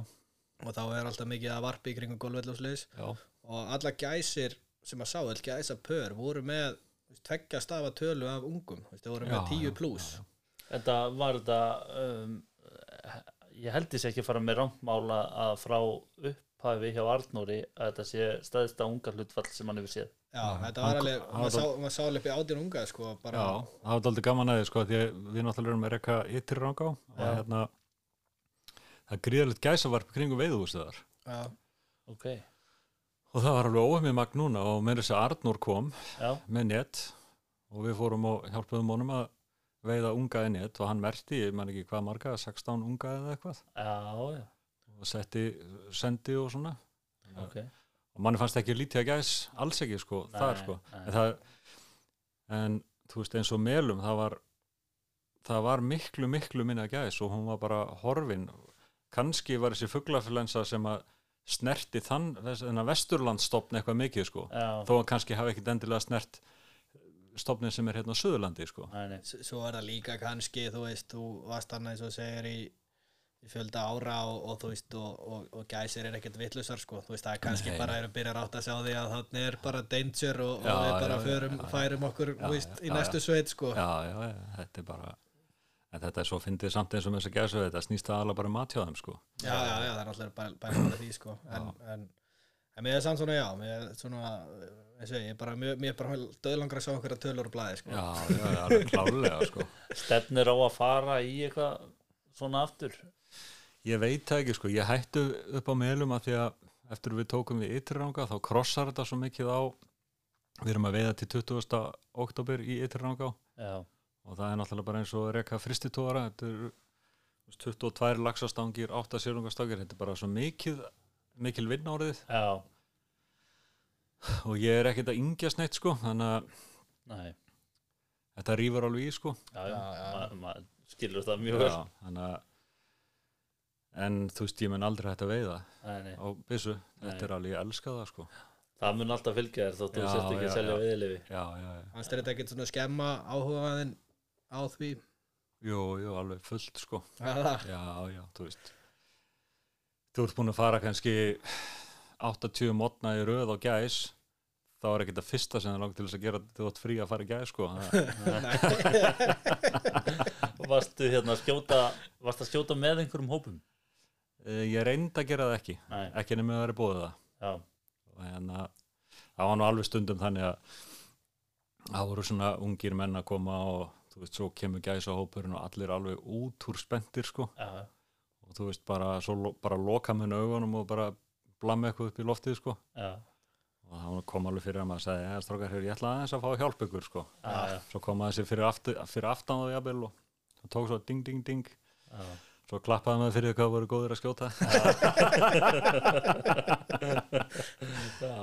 S2: og þá er alltaf mikið að varpi í kringum golfvell og sliðis
S3: já,
S2: og alla gæsir sem að sá, all gæsa pör voru með þú veist, tveggja stafa tölu af ungum þú veist, þau voru með
S3: Já, já,
S2: tíu pluss
S1: Þetta var þetta um, ég held þess ekki að fara með rangmála að frá upphafi hjá Arnóri að þetta sé staðista unga hlutfall sem hann hefur séð
S2: já,
S3: Já,
S2: þetta var
S3: hann-
S2: alveg,
S3: hann-
S2: maður sá, maður sá alveg upp í átján unga sko, bara,
S3: Já, það var aldrei gaman að því sko því að við náttúrulega erum að rekka yttir ranga og
S1: Já.
S3: hérna það er gríðalegt gæsavarp kringum veiðústöðar
S2: já,
S1: Ok,
S3: og það var alveg óhemið magn núna og meira þess að Arnur kom
S1: já,
S3: með net og við fórum og hjálpuðum honum að veiða unga í net og hann merti, ég man ekki hvað marga 16 unga eða eitthvað
S1: já, já,
S3: og setti, sendi og svona
S1: ok
S3: og manni fannst ekki lítið að gæs alls ekki sko, þar sko
S1: nei.
S3: en, það, en þú veist eins og melum það var, það var miklu miklu minna gæs og hún var bara horfin kannski var þessi fuglaflensa sem að snerti þann þess- þennan vesturlandstofn eitthvað mikið sko
S1: Já,
S3: þó að kannski hafi ekkit endilega snert stofnin sem er hérna á Suðurlandi sko
S1: Nei, nei.
S2: S- svo er það líka kannski þú veist, þú varst hann eins og segir í, í fjölda ára og, og þú veist og, og, og gæsir er ekkert vitlusar sko, þú veist, það er kannski
S3: Nei.
S2: bara eru byrjar átt að sjá því að þannig er bara danger og,
S3: Já,
S2: og við
S3: já,
S2: bara
S3: já,
S2: förum,
S3: já, já.
S2: færum okkur
S3: Já,
S2: þú veist,
S3: já,
S2: í næstu sveit sko
S3: já, já, já, þetta er bara en þetta er svo fyndið samt eins og með þess að gæsa þetta snýst það alveg bara um matjóðum sko
S2: já, já, já, það er alltaf bara, bara, bara því sko en, en, en mér er samt svona já mér er svona, ég segi, ég er bara mér, mér er bara döðlangra að sjá einhverja tölur og blaði sko
S3: já, já, já, alveg klárlega sko
S1: Stefnir á að fara í eitthvað svona aftur
S3: Ég veit það ekki sko, ég hættu upp á meðlum að því að eftir við tókum við ytrirranga þá krossar þetta svo mikið á við erum að veiða til 20. oktober í ytrirranga
S1: Já,
S3: og það er náttúrulega bara eins og að reka fristitóra þetta eru þú veist, 22 laxastangir, 8 sérungastangir þetta er bara svo mikið mikil vinn árið
S1: já,
S3: og ég er ekkert að yngjast neitt sko þannig að
S1: nei
S3: þetta rýfur alveg í sko
S1: Já, já,
S2: Já, já.
S1: maður ma skilur það mjög vel
S3: Já, þannig að en þú veist ég mun aldrei hægt að veiða
S1: Nei, nei.
S3: á byssu,
S1: Nei.
S3: þetta er alveg ég elska það sko
S1: Það mun alltaf fylgja þér þótt þú
S3: Já,
S1: sért ekki að
S3: já,
S1: selja
S3: já.
S1: viðlifi
S3: já, já, já
S2: Fannst þér þetta ekkert svona skemma áhugaðin á því
S3: Jú, jú, alveg fullt sko
S2: Já, það-
S3: Já, já, þú veist Þú ert búin að fara kannski 80 mótna í röð á gæs þá er ekki það fyrsta sem það langt til þess að gera þú átt frí að fara í gæs sko Það-
S1: Varstu hérna að skjóta Varstu að skjóta með einhverjum hópum?
S3: Eh, Ég reyndi að gera það ekki
S1: Nei,
S3: ekki nefnir að vera búið það
S1: já,
S3: og hérna, það var nú alveg stundum þannig að það voru svona ungir menn að koma og þú veist, svo kemur gæs á hópurinn og allir alveg út úr spendir sko
S1: já,
S3: og þú veist, bara, svo, lo- bara loka mun augunum og bara blamma eitthvað upp í loftið sko
S1: já
S3: og það kom alveg fyrir að maður sagði ég strákar hér, ég ætla aðeins að fá hjálp ykkur sko.
S1: já,
S3: svo kom maður sér fyrir, aftur, fyrir aftan á jafnvel og það tók svo ding ding ding
S1: já,
S3: svo klappaði maður fyrir hvað voru góður að skjóta
S1: já.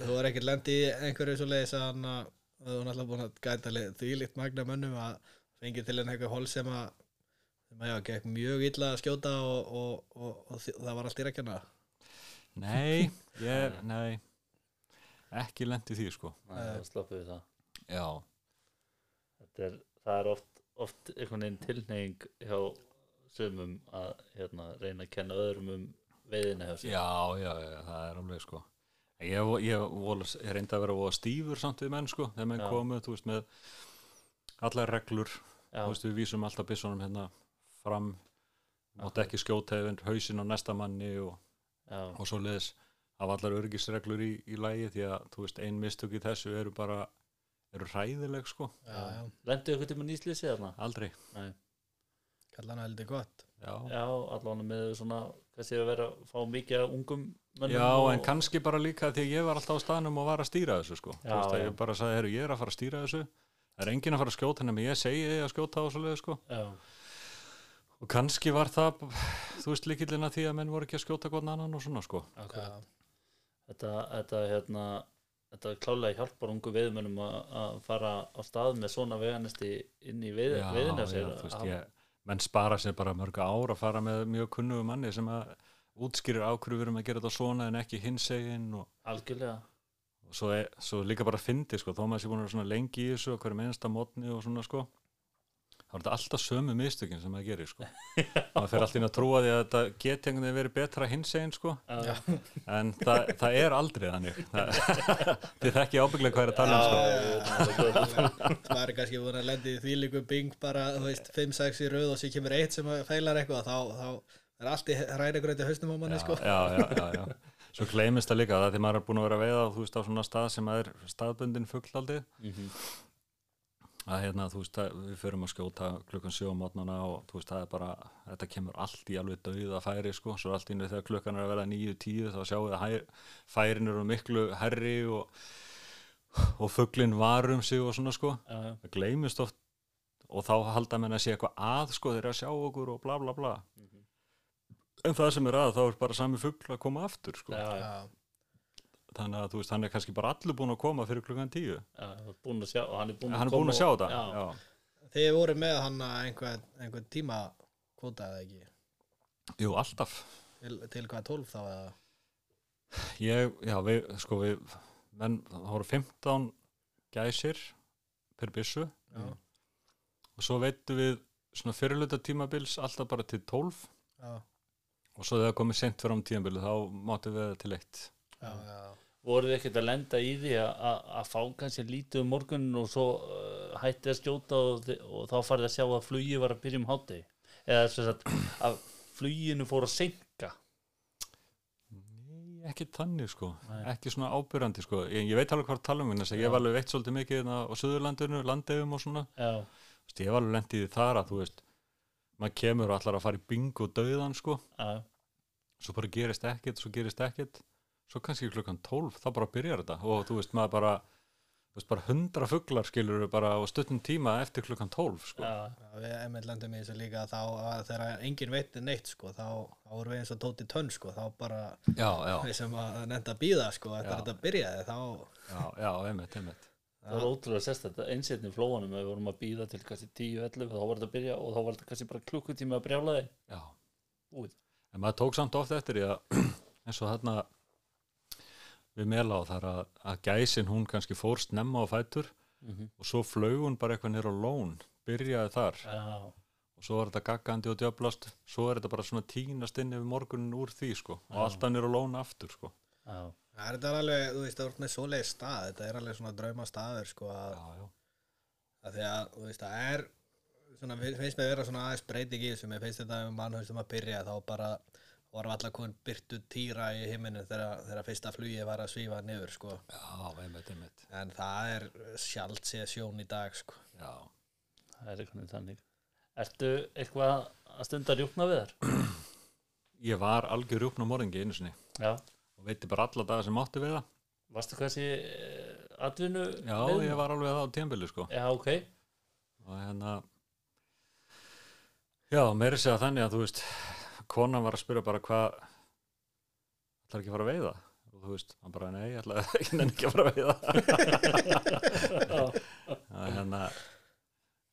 S2: þú er ekkert lendi í einhverju svo leiðis að hann að þú er náttúrulega búin að gæta því líkt magna mönnum að fengi til henni eitthvað hól sem að sem að já, gekk mjög illa að skjóta og, og, og, og, þi- það var allt í rekkjana
S3: nei, ég, nei ekki lendi því sko
S1: Nei, þá sloppum við það
S3: já,
S1: Þetta er, það er oft, oft einhvern veginn tilneying hjá sumum að hérna, reyna að kenna öðrum um veiðina hjá sér
S3: já, já, já það er alveg sko En ég, vo- ég, vola, ég reyndi að vera voða stífur samt við menn sko þegar menn
S1: Já.
S3: komu, þú veist, með allar reglur
S1: Já,
S3: þú veist, við vísum alltaf byssunum hérna fram, mátt ekki skjóta yfir hausinn á næsta manni og,
S1: já,
S3: og svo leðis af allar örgisreglur í, í lægi því að, þú veist, ein mistök í þessu eru bara, eru hræðileg sko,
S1: já. Lendu ykkur tíma nýslýsi þarna?
S3: aldrei
S1: Nei.
S2: kalla hann heldur gott
S3: já,
S1: Já, allan með svona, hvað séu að vera að fá mikið af ungum mönnum
S3: já
S1: og,
S3: en kannski bara líka því að ég var alltaf á staðnum og var að stýra þessu sko,
S1: Já,
S3: þú veist, að
S1: já.
S3: ég bara sagði, herru, ég er að fara að stýra þessu það er enginn að fara að skjóta nema ég segi að skjóta á þessu leið sko
S1: Já,
S3: og kannski var það, þú veist, líkillina því að menn voru ekki að skjóta gott annan og svona sko
S1: akkurat þetta, þetta, hérna, þetta klálega hjálpar ungu veiðmönnum að- að fara á stað með svona veganisti inn í veið,
S3: Já,
S1: veiðina
S3: já,
S1: sér
S3: þú veist,
S1: að-
S3: ég, menn spara sér bara mörg ár að fara með mjög kunnugu manni sem að útskýrir ákvörðu við erum að gera þetta svona en ekki hinsegin og,
S1: algjörlega
S3: og svo, er, svo líka bara fyndi sko, þó maður sé búin að vera svona lengi í þessu og hverjum einasta mótni og svona sko þá er þetta alltaf sömu mistökin sem maður gerir sko maður fer alltaf inn að trúa því að þetta geti einhvern veginn verið betra hinsegin sko
S1: Já,
S3: en það, það er aldrei þannig það, þið þekki ábygglega hvað er að tala um sko
S1: já, já.
S2: það er kannski búin að lendi því líku bing bara, þú veist, 5-6 í röð og sér kemur eitt sem að feilar eitthvað þá, þá er allt í ræna gröti hausnum á manni sko.
S3: já, um, já, já, já. Svo gleymist það líka, það er því maður er búin að vera að veiða þú veist á svona stað sem að er staðbundin fugglaldi
S1: Mhm.
S3: að hérna, þú veist, að við förum að skjóta klukkan sjö á mótnana og þú veist, það er bara þetta kemur allt í alveg dauða færi sko, svo allt í innu þegar klukkan er að vera nýju, tíu þá sjáum við að hæ- færin eru miklu herri og, og fugglin var um sig og svona sko
S1: Já, já.
S3: það gleymist oft og þá halda menn að sé eitthvað að sko þeir eru að sjá okkur og bla bla bla
S1: Mhm.
S3: en það sem er að þá er bara sami fugl að koma aftur sko.
S1: Já, já,
S2: Já.
S3: þannig að þú veist hann er kannski bara allur búin að koma fyrir klukkan tíu
S1: já, hann er búinn að sjá og hann er búinn
S3: hann er búin að sjá þetta
S1: já, já.
S2: Þið voru með hann einhvern, einhvern tíma kvótaði ekki
S3: Jú, alltaf
S2: til, til hvað 12 þá eða
S3: ég, já, við, sko við menn, það voru 15 gæsir per byssu
S2: já,
S3: og svo veitum við svona fyrirluta tímabils alltaf bara til 12
S2: já,
S3: og svo þegar komið sent fyrir á tímabili þá máttum við það til eitt
S2: já, já.
S1: voruð þið ekkert að lenda í því að- að að fá kannski lítið um morgunin og svo uh, hættið að skjóta og, þi- og þá farið að sjá að flugið var að byrja um hátti eða sem sagt að fluginu fór að senka
S3: Nei, ekki þannig sko,
S1: Nei.
S3: ekki svona ábyrrandi sko, ég, ég veit alveg hvað tala um þess að ég var alveg veitt svolítið mikið hérna á Suðurlandinu, landefum og svona,
S1: já,
S3: Þú veist, ég var alveg lendið þar að þú veist, maður kemur og allar að fara í bingo döðan sko,
S1: já,
S3: svo bara gerist ekkit, svo gerist ekkit, svo kannski klukkan 12 þá bara byrjar þetta og þú veist maður bara, þú veist bara hundra fuglar skilur bara á stuttum tíma eftir klukkan 12 sko,
S1: já,
S2: Já, Við emill lendum í þessu líka þá að þegar enginn veitti neitt sko, þá, þá voru við eins og tóti tönn sko, þá bara
S3: já, já,
S2: við sem að nefnda að býða sko, eftir
S3: Já.
S2: að þetta byrjaði þá
S3: já, já, einmitt, einmitt,
S1: það var ótrúlega sérst þetta einsetni flóanum við vorum að býða til kannski 10-11 þá var þetta að byrja og þá var þetta kannski bara klukkutíma að brjála þig
S3: já.
S1: út
S3: En maður tók samt oft eftir því að eins og þarna við meðla á þar að, að gæsin hún kannski fór snemma á fætur
S1: Mhm.
S3: og svo flög hún bara eitthvað nýr á lón, byrjaði þar
S1: já,
S3: og svo var þetta gaggandi og djöblast, svo er þetta bara svona tínast inn yfir morgunin úr því sko og alltaf nýr á lón aftur sko.
S1: já,
S2: Það er þetta alveg, þú veist, það er með svoleið stað, þetta er alveg svona drauma staður sko, að,
S3: Já, já,
S2: að því að, þú veist, það er svona, finnst finnst mér vera svona aðeins breyting í þessu, mér finnst þetta um mannhaus sem að byrja, þá bara voru allar komin byrtu týra í himinu þegar, þegar fyrsta flugið var að svífa niður sko.
S3: já, einmitt, einmitt,
S2: en það er sjálft séð sjón í dag sko.
S3: já.
S1: það er eitthvað þannig Ertu eitthvað að stunda rjúkna við þar?
S3: Ég var algjör uppn á morðingi einu sinni
S1: Já,
S3: og veitti bara alla daga sem átti við það
S1: varstu kannski eh, atvinnu
S3: Já, ég var alveg það á tímbili sko
S1: já, ok,
S3: og hérna já, meiri segja þannig að þú veist konan var að spyrja bara hvað ætlar ekki að fara að veiða og þú veist, hann bara nei, ég ætla ekki nenni ekki að fara að veiða að hérna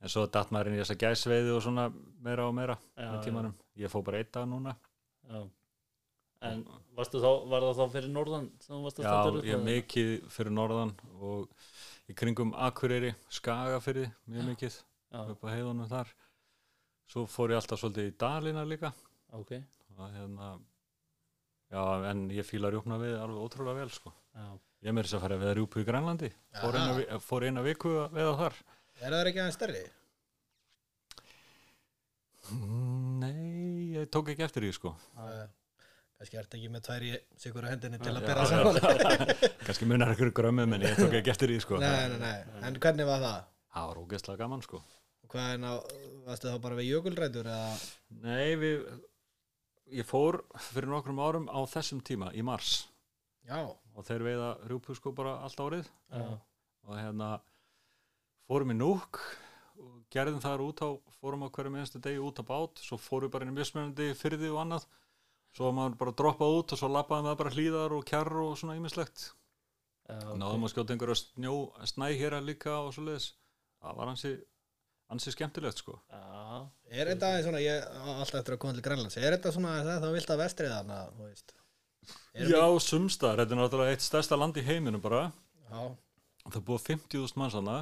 S3: en svo datt maður inn í þessa gæsveiði og svona meira og meira
S1: Já,
S3: með tímanum, ég fó bara einn dag núna
S1: já en varstu þá, var það þá fyrir norðan sem þú varstu að
S3: já,
S1: standa
S3: ég er mikið fyrir norðan og í kringum Akureyri, Skaga fyrir mjög mikið,
S1: já,
S3: upp á heiðunum þar svo fór ég alltaf svolítið í Dalina líka
S1: ok,
S3: og hérna já, en ég fíla rjúpna við alveg ótrúlega vel sko.
S1: já,
S3: ég meiri þess að fara við að rjúpu í Grænlandi fór
S2: Aha.
S3: eina, vi- fór eina viku að veiða þar
S2: Er það ekki aðeins stærri?
S3: Mm, nei, ég tók ekki eftir því sko
S2: Ah. Kannski ertu ekki með tvær í sigur á hendinni til
S3: Já,
S2: að bera
S3: já.
S2: saman
S3: kannski munar ykkur grömmum en ég tók ekki eftir því sko
S2: Nei, nei, nei, en hvernig var það?
S3: það var ógeðslega gaman sko
S2: Hvað er ná, varstu þá bara við jökulrætur eða?
S3: nei, við ég fór fyrir nokkrum árum á þessum tíma í mars
S2: Já,
S3: og þeir veiða rjúpu sko bara allt árið
S1: já,
S3: og hérna fórum í núk og gerðum þar út á, fórum á hverjum einstu degi út á bát, svo fórum við bara inn í mismunandi fyrði og annað, svo var maður bara droppað út og svo lappaði maður bara hlýðar og kjarr og svona ýmislegt,
S1: já
S3: okay.
S1: ok.
S3: náðum að skjóta einhverja snjó, snæhera líka og svo leiðis það var ansi, ansi skemmtilegt sko,
S1: já,
S2: er þetta aðeins svona, ég á alltaf eftir að koma til Grænlands, er þetta svona aðeins að þá vilt að vestrið hana, þú veist? Erum
S3: já sumstar þetta er náttúrulega eitt stærsta land í heiminum bara
S2: Já,
S3: það búa 50.000 manns hana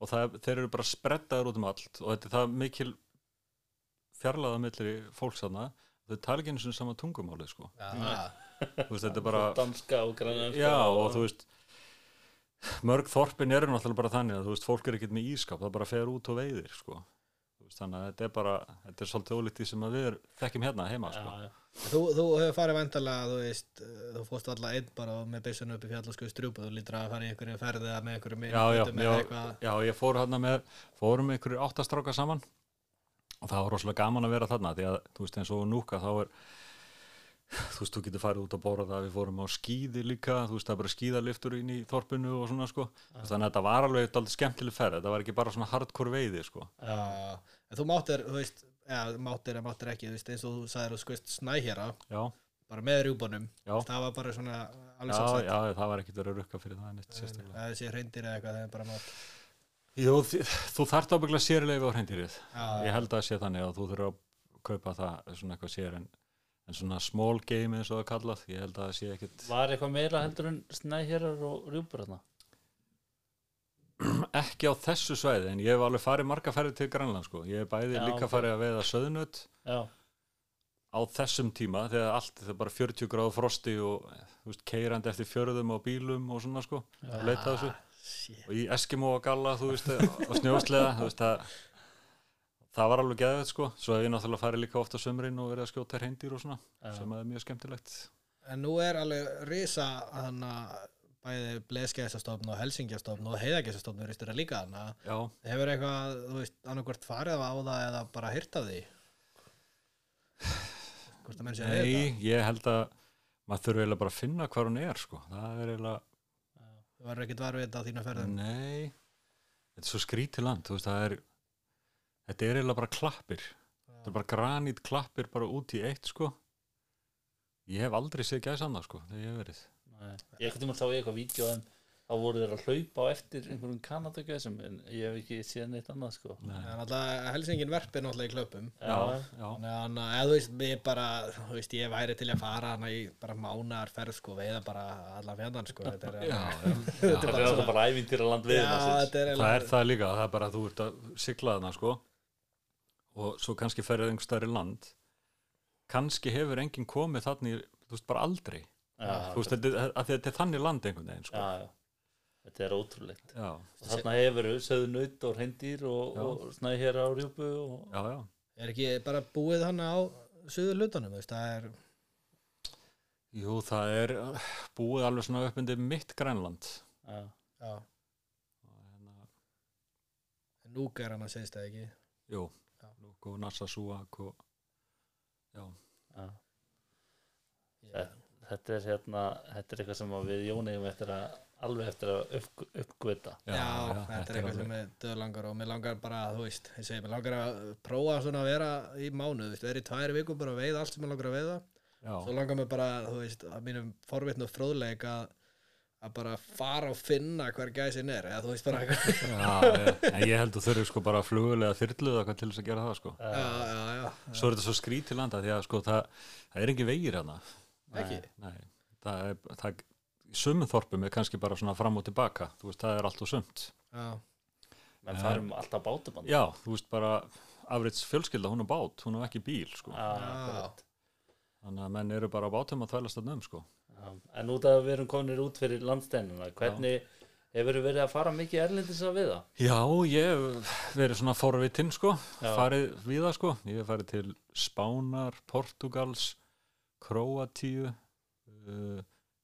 S3: og það, þeir eru bara sprettaður út um allt og þetta er það mikil fjarlæða millir fólks hana þau tala ekki eins og sama tungumáli sko.
S2: já,
S3: Þú veist, þetta er sko. bara
S1: danska og grænlandska
S3: já og þú veist mörg þorpin eru náttúrulega bara þannig að þú veist, fólk er ekkert með ískap, það bara fer út og veiðir sko. Þú veist, þannig að þetta er bara þetta er svolítið ólítið sem að við er, þekkjum hérna heima sko.
S1: já, já,
S2: Þú, þú hefur farið vandalega, þú veist, eh, þú fórst alltaf einn bara og með byssun upp í fjall og skuð strjúpa, þú lítur að fara í einhverju ferði eða með einhverju mynd,
S3: já, já,
S2: með
S3: já,
S2: eitthvað.
S3: já, ég fór hérna með fórum með einhverju áttastráka saman og það var rosalega gaman að vera þarna því að, þú veist, eins og núka þá er þú veist, þú getur farið út að bóra það við fórum á skíði líka, þú veist, það er bara skíðaliftur inn í þorpinu og svona, sko Þú veist, þannig að þetta var alveg eitthvað skemmtileg ferð þetta var ekki bara svona hardcore veiði, sko
S2: Já, en þú máttir, þú veist, eða máttir eða máttir ekki, þú veist, eins og þú sagðir þú skuðst snæhjara,
S3: já,
S2: bara með rjúbunum,
S3: já, já,
S2: það var bara svona alveg
S3: já,
S2: sálsagt,
S3: það var ekkit verið að rukka fyrir það neitt
S2: að
S3: sérstaklega
S2: þessi reyndir eða eitthvað, það er bara mátt.
S3: Jú, þi- þú þarft ábygglega sérleifi á hreindirið
S2: Já,
S3: ég held að það sé þannig að þú þurfa að kaupa það svona eitthvað sér en, en svona small game eins og það er kallað ég held að það sé ekkit
S1: var eitthvað meira heldur en snæhjarar og rjúpur þarna
S3: ekki á þessu svæði en ég hef alveg farið marga ferði til Grænland sko. ég hef bæði
S1: Já,
S3: líka
S1: ok.
S3: farið að veiða söðnöt
S1: já,
S3: á þessum tíma þegar allt það er bara 40 gráð frosti og eh, þú veist, keirandi eftir fjörðum og bílum og svona sko og leita að þessu
S2: shit.
S3: og í Eskimo og Galla þú veist eh, og snjósleða þú veist það það var alveg geðveit sko svo hef ég náttúrulega farið líka ofta sömrin og verið að skjóta reyndir og svona sem að er mjög skemmtilegt
S2: En nú er alveg risa, hann að bæði bleskæðsastofn og helsingjastofn og heiðagæðsastofn eru styrra líka, hann að
S3: já
S2: hefur eitthvað, þú veist, annarkvort farið á það eða bara hýrt af því? Hvort að menn sé að veiða
S3: Nei, ég held að maður þurfi eiginlega bara að finna hvað hún er sko. það er eiginlega,
S2: Þú verður ekkert var við þetta á þínu ferðum.
S3: nei þetta er svo skrítið land þú veist, það er, þetta er eiginlega bara klappir þetta er bara granít klappir bara út í eitt sko. ég hef aldrei séð gæs annað sko, þegar ég hef verið
S1: Nei. Ég ekkert um að sá ég eitthvað vídeo en þá voru þeir að hlaupa á eftir einhverjum kanadagæsum en ég hef ekki séð neitt annað sko.
S3: nei.
S2: En alltaf helsingin verpir náttúrulega í klöpum.
S3: já, já,
S2: Þannig að hann- eða þú veist, ég bara, þú veist, ég væri til að fara hana í bara mánar ferð sko, veiða bara allan fjandann sko. Þetta er,
S3: já,
S2: þetta er
S1: það er
S2: bara
S1: alltaf
S2: svona,
S1: bara ævintýra land við
S2: já, þetta er,
S3: það er það líka það er bara að þú ert að sigla þarna sko. og svo kannski ferðið einhver stærri land kannski hefur enginn komið þarna í, þú veist, bara aldrei
S1: Já,
S3: þú veist, þetta, að þetta er þannig land einhvern veginn, sko.
S1: já, já. Þetta er ótrúlegt.
S3: Já,
S1: Og þarna hefur söðu naut og hreindýr og,
S3: Já.
S1: og snæði hér á rjúpu og
S3: já, já.
S2: er ekki bara búið hann á suður hlutunum, þú veist, það er,
S3: Jú, það er uh, búið alveg svona upp undir mitt Grænland.
S1: já,
S2: já, núk er hann að segist það ekki.
S3: Jú,
S2: Já.
S3: Lúk og Nassasúak og... Já,
S1: já.
S2: Ég-
S1: Þetta- þetta er hérna þetta er eitthvað sem að við Jónegum eftir að alveg eftir að upp, uppgöta
S2: Já, þetta er eitthvað sem er döðlangar og mér langar bara, þú veist, ég segi, mér langar að prófa svona að vera í mánuð, þú veist, vera í tvær viku bara að veiða allt sem mér langar að veiða. Svo
S3: Já,
S2: langar mér bara, þú veist, að mínum forvitn og fróðleik að, að bara fara og finna hver gæsin er, eða þú veist bara eitthvað.
S3: já, já. En ég held að þurfi sko bara flugulega þyrluð eitthvað til þess að gera það sko.
S2: já, já, já,
S3: Svo er þetta svo skrítið landa því að sko það, það er engin vegir hana.
S2: ekki.
S3: Nei, það er, það, í sumum þorpum er kannski bara svona fram og tilbaka. Þú veist, það er allt og sumt.
S2: Já,
S1: menn um farum alltaf bátumann
S3: Já, þú veist bara, afrits fjölskylda, hún er bát, hún er ekki bíl sko. Þannig að menn eru bara á bátum að þvælast þarna um sko.
S1: en út að við erum kominir út fyrir landsteinuna hvernig hefur verið að fara mikið erlendis að viða
S3: Já, ég hef verið svona forvitinn sko,
S1: Já.
S3: farið við það sko. Ég hef farið til Spánar, Portugals, Króatíu, uh,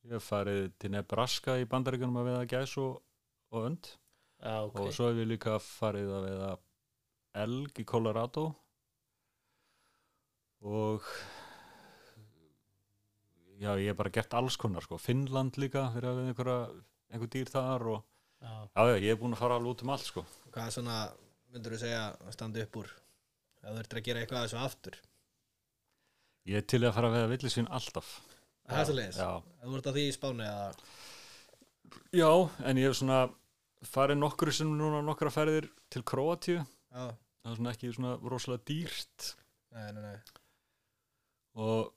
S3: ég hef farið til Nebraska í bandaríkunum að veiða gæs og, og önd.
S1: já, ok,
S3: Og svo hef ég líka farið að veiða elg í Colorado og já, ég hef bara gert alls konar sko. Finnland líka, verið að veiða einhverja, einhver dýr þar og
S1: já.
S3: já, já, ég hef búin að fara alveg út um allt sko.
S2: og hvað er svona, myndur þú segja, að standa upp úr? Ef þú ert að gera eitthvað af þessu aftur.
S3: Ég er til í að fara að veða villisvín alltaf.
S2: Það er svo leiðis.
S3: Já.
S2: Þú ert að því í spánu eða,
S3: Já, en ég hef svona farið nokkru sem núna nokkra ferðir til Kroatíu.
S2: já,
S3: Það er svona ekki svona rosalega dýrt
S2: nei, nei, nei.
S3: og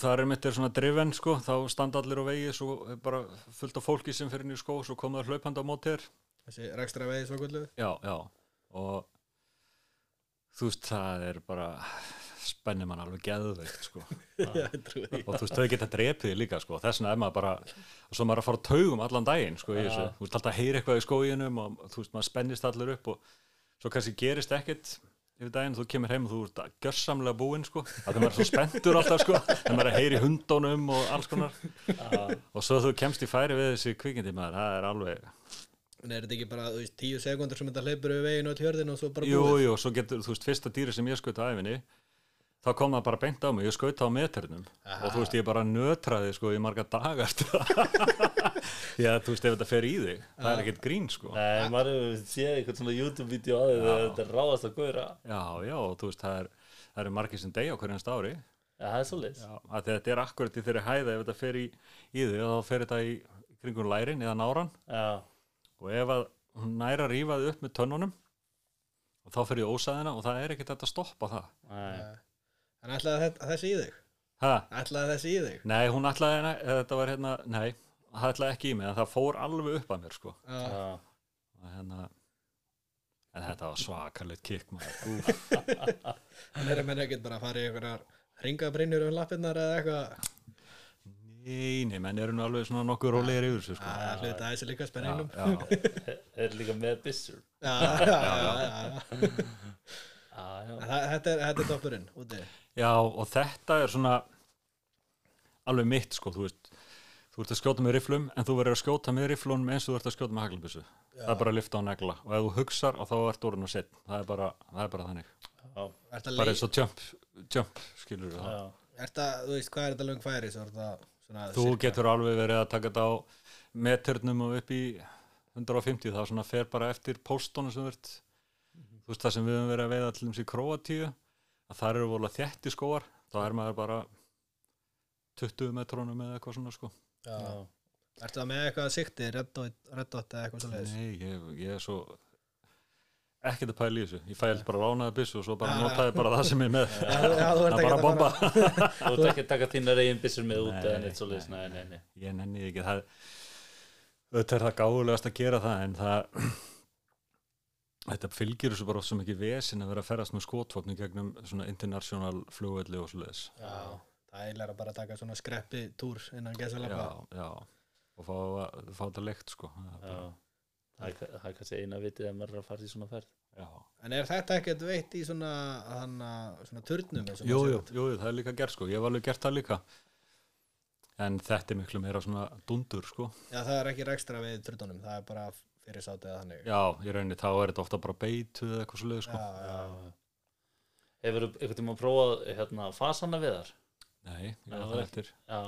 S3: þar er mitt er svona driven sko, þá standa allir á vegi svo er bara fullt af fólki sem fyrir inn í skó svo koma þær hlaupandi á móti þér.
S2: Þessi rekstra veiði svo gullu.
S3: Já, já. Og þú veist, það er bara spennir mann alveg geðveikt sko.
S2: Já, ég trúi því.
S3: og þú veist, þau geta drepið þig líka sko. þess vegna er maður bara, og svo maður er að fara á taugum allan daginn, sko, í
S1: Já.
S3: þessu þú veist, alltaf heyri eitthvað í skóginum og þú veist, maður spennist allir upp og svo kannski gerist ekkit yfir daginn, þú kemur heim og þú ert gjörsamlega búinn, sko, að það maður er svo spenntur alltaf, sko, en maður er að heyri hundónum og alls konar, og svo þú kemst í færi við þessi kvikindi maður, það er alveg,
S2: En er þetta ekki bara, þú veist, tíu sekundur sem þetta hleypur yfir veginn og hjörðin og svo bara
S3: jú,
S2: búið?
S3: jú, svo getur, þú veist, fyrsta dýri sem ég skaut á æfinni, þá kom það bara beint á mig, ég skaut á meternum og þú veist, ég bara nötraði sko í marga daga eftir það. Já, þú veist, ef þetta fer í þig, það er ekkert grín sko.
S1: Nei, maður hefur séð eitthvað svona YouTube-vídeó að þegar þetta er ráðast að góra
S3: Já, já, og þú veist, það er, það er margir sem degja á hverjum ári.
S1: Já, það er svoleiðis
S3: Já, af því að þetta er akkurat í þeirri hæða ef þetta fer í, í þig og þá fer þetta í kringum lærin eða náran
S1: Já,
S3: og ef að hún næra rífaði upp með tönnunum og þá fer ég ósaðina og það er ekkert hægt að stoppa það.
S1: nei,
S2: En ætlaði þetta- þessi í þig?
S3: Ha?
S2: Ætlaði þessi í þig?
S3: Nei, hún ætlaði, nei, þetta var hérna, nei, það ætlaði ekki í mig, en það fór alveg upp að mér, sko.
S2: Já,
S1: já,
S3: Og Hérna, en þetta var svakalegt kikk, maður.
S2: en er að menna ekkert bara að fara í einhverjar ringabrinnur um lappirnar eða eitthvað?
S3: Nei, nei, menn eru nú alveg svona nokkuð rólegir yfir þessu, sko.
S2: Það er hluta að þessi líka spenningnum.
S3: já,
S1: er líka með byssur
S2: Já, já, já, já.
S1: Já, já,
S2: En það- Þetta er, þetta er toppurinn úti.
S3: já, og þetta er svona alveg mitt, sko, þú veist, þú ert að skjóta með riflum, en þú verður að skjóta með riflunum eins og þú ert að skjóta með haglbissu. Það er bara að lifta á negla, og ef þú hugsar, og þá ert orðin að setja. Það er bara, það er bara þannig.
S1: já,
S2: Ertu að
S3: Bara
S2: leik,
S3: eins og jump, jump, skilur það.
S1: já.
S2: ertu að, þú veist, hvað er þetta löng færi? Svo er þetta svona...
S3: Þú getur alveg verið að taka þetta á meturnum og upp í 150, það svona fer bara eftir póstunum sem verðt
S2: Mhm.
S3: þú veist það sem við höfum verið að veiða til dæmis í Króatíu að það eru vola þjætti skóar þá er maður bara 20 metrónum eða eitthvað svona sko
S2: Já.
S1: já.
S2: Ertu að með eitthvað sikti, reddótt eða eitthvað svo leiðis?
S3: Nei, ég, ég er svo ekkert að pæla í þessu ég fælt bara ránaði byssu og svo bara
S2: Já, já.
S3: notaði bara það sem ég er með
S2: Já, þú- já, þú ert
S3: það er
S2: ekkert
S3: bara
S2: að
S3: að bomba
S2: fara-
S1: Þú ert ekki að taka þínar eigin byssur með út
S3: Nei,
S1: eða neitt svoleiðis, nei, nei, nei
S3: ég nenni því ekki það auðvitað er það gáðulegast að gera það en það þetta fylgir þessu bara oft svo mikið vesin að vera að ferðast með skotvopni gegnum svona international flugvelli og svoleiðis
S2: Já, það er eiginlega bara að taka svona skreppi túr innan
S3: já,
S2: gesalappa.
S3: já og fá, að- fá þetta leikt sko Það
S1: Já,
S3: er bara-
S1: það er- það er kannski eina vitið að maður er að fara í svona ferð
S3: já.
S2: En er þetta ekkert veitt í svona, hana, svona turnum? eins og
S3: Jú,
S2: maður
S3: jú,
S2: segir?
S3: jú, jú, það er líka gert sko ég hef alveg gert það líka en þetta er miklu meira svona dundur sko
S2: Já, það er ekki rekstra við turnunum, það er bara fyrir sátið þannig.
S3: já, í rauninni þá er þetta ofta bara beitu eða eitthvað svoleiðis sko
S2: já, já.
S1: Hefur einhvern tímann prófað hérna fasana viðar?
S3: nei, ég
S1: Já,
S3: er
S1: það
S3: það
S1: er-
S3: eftir
S1: Já,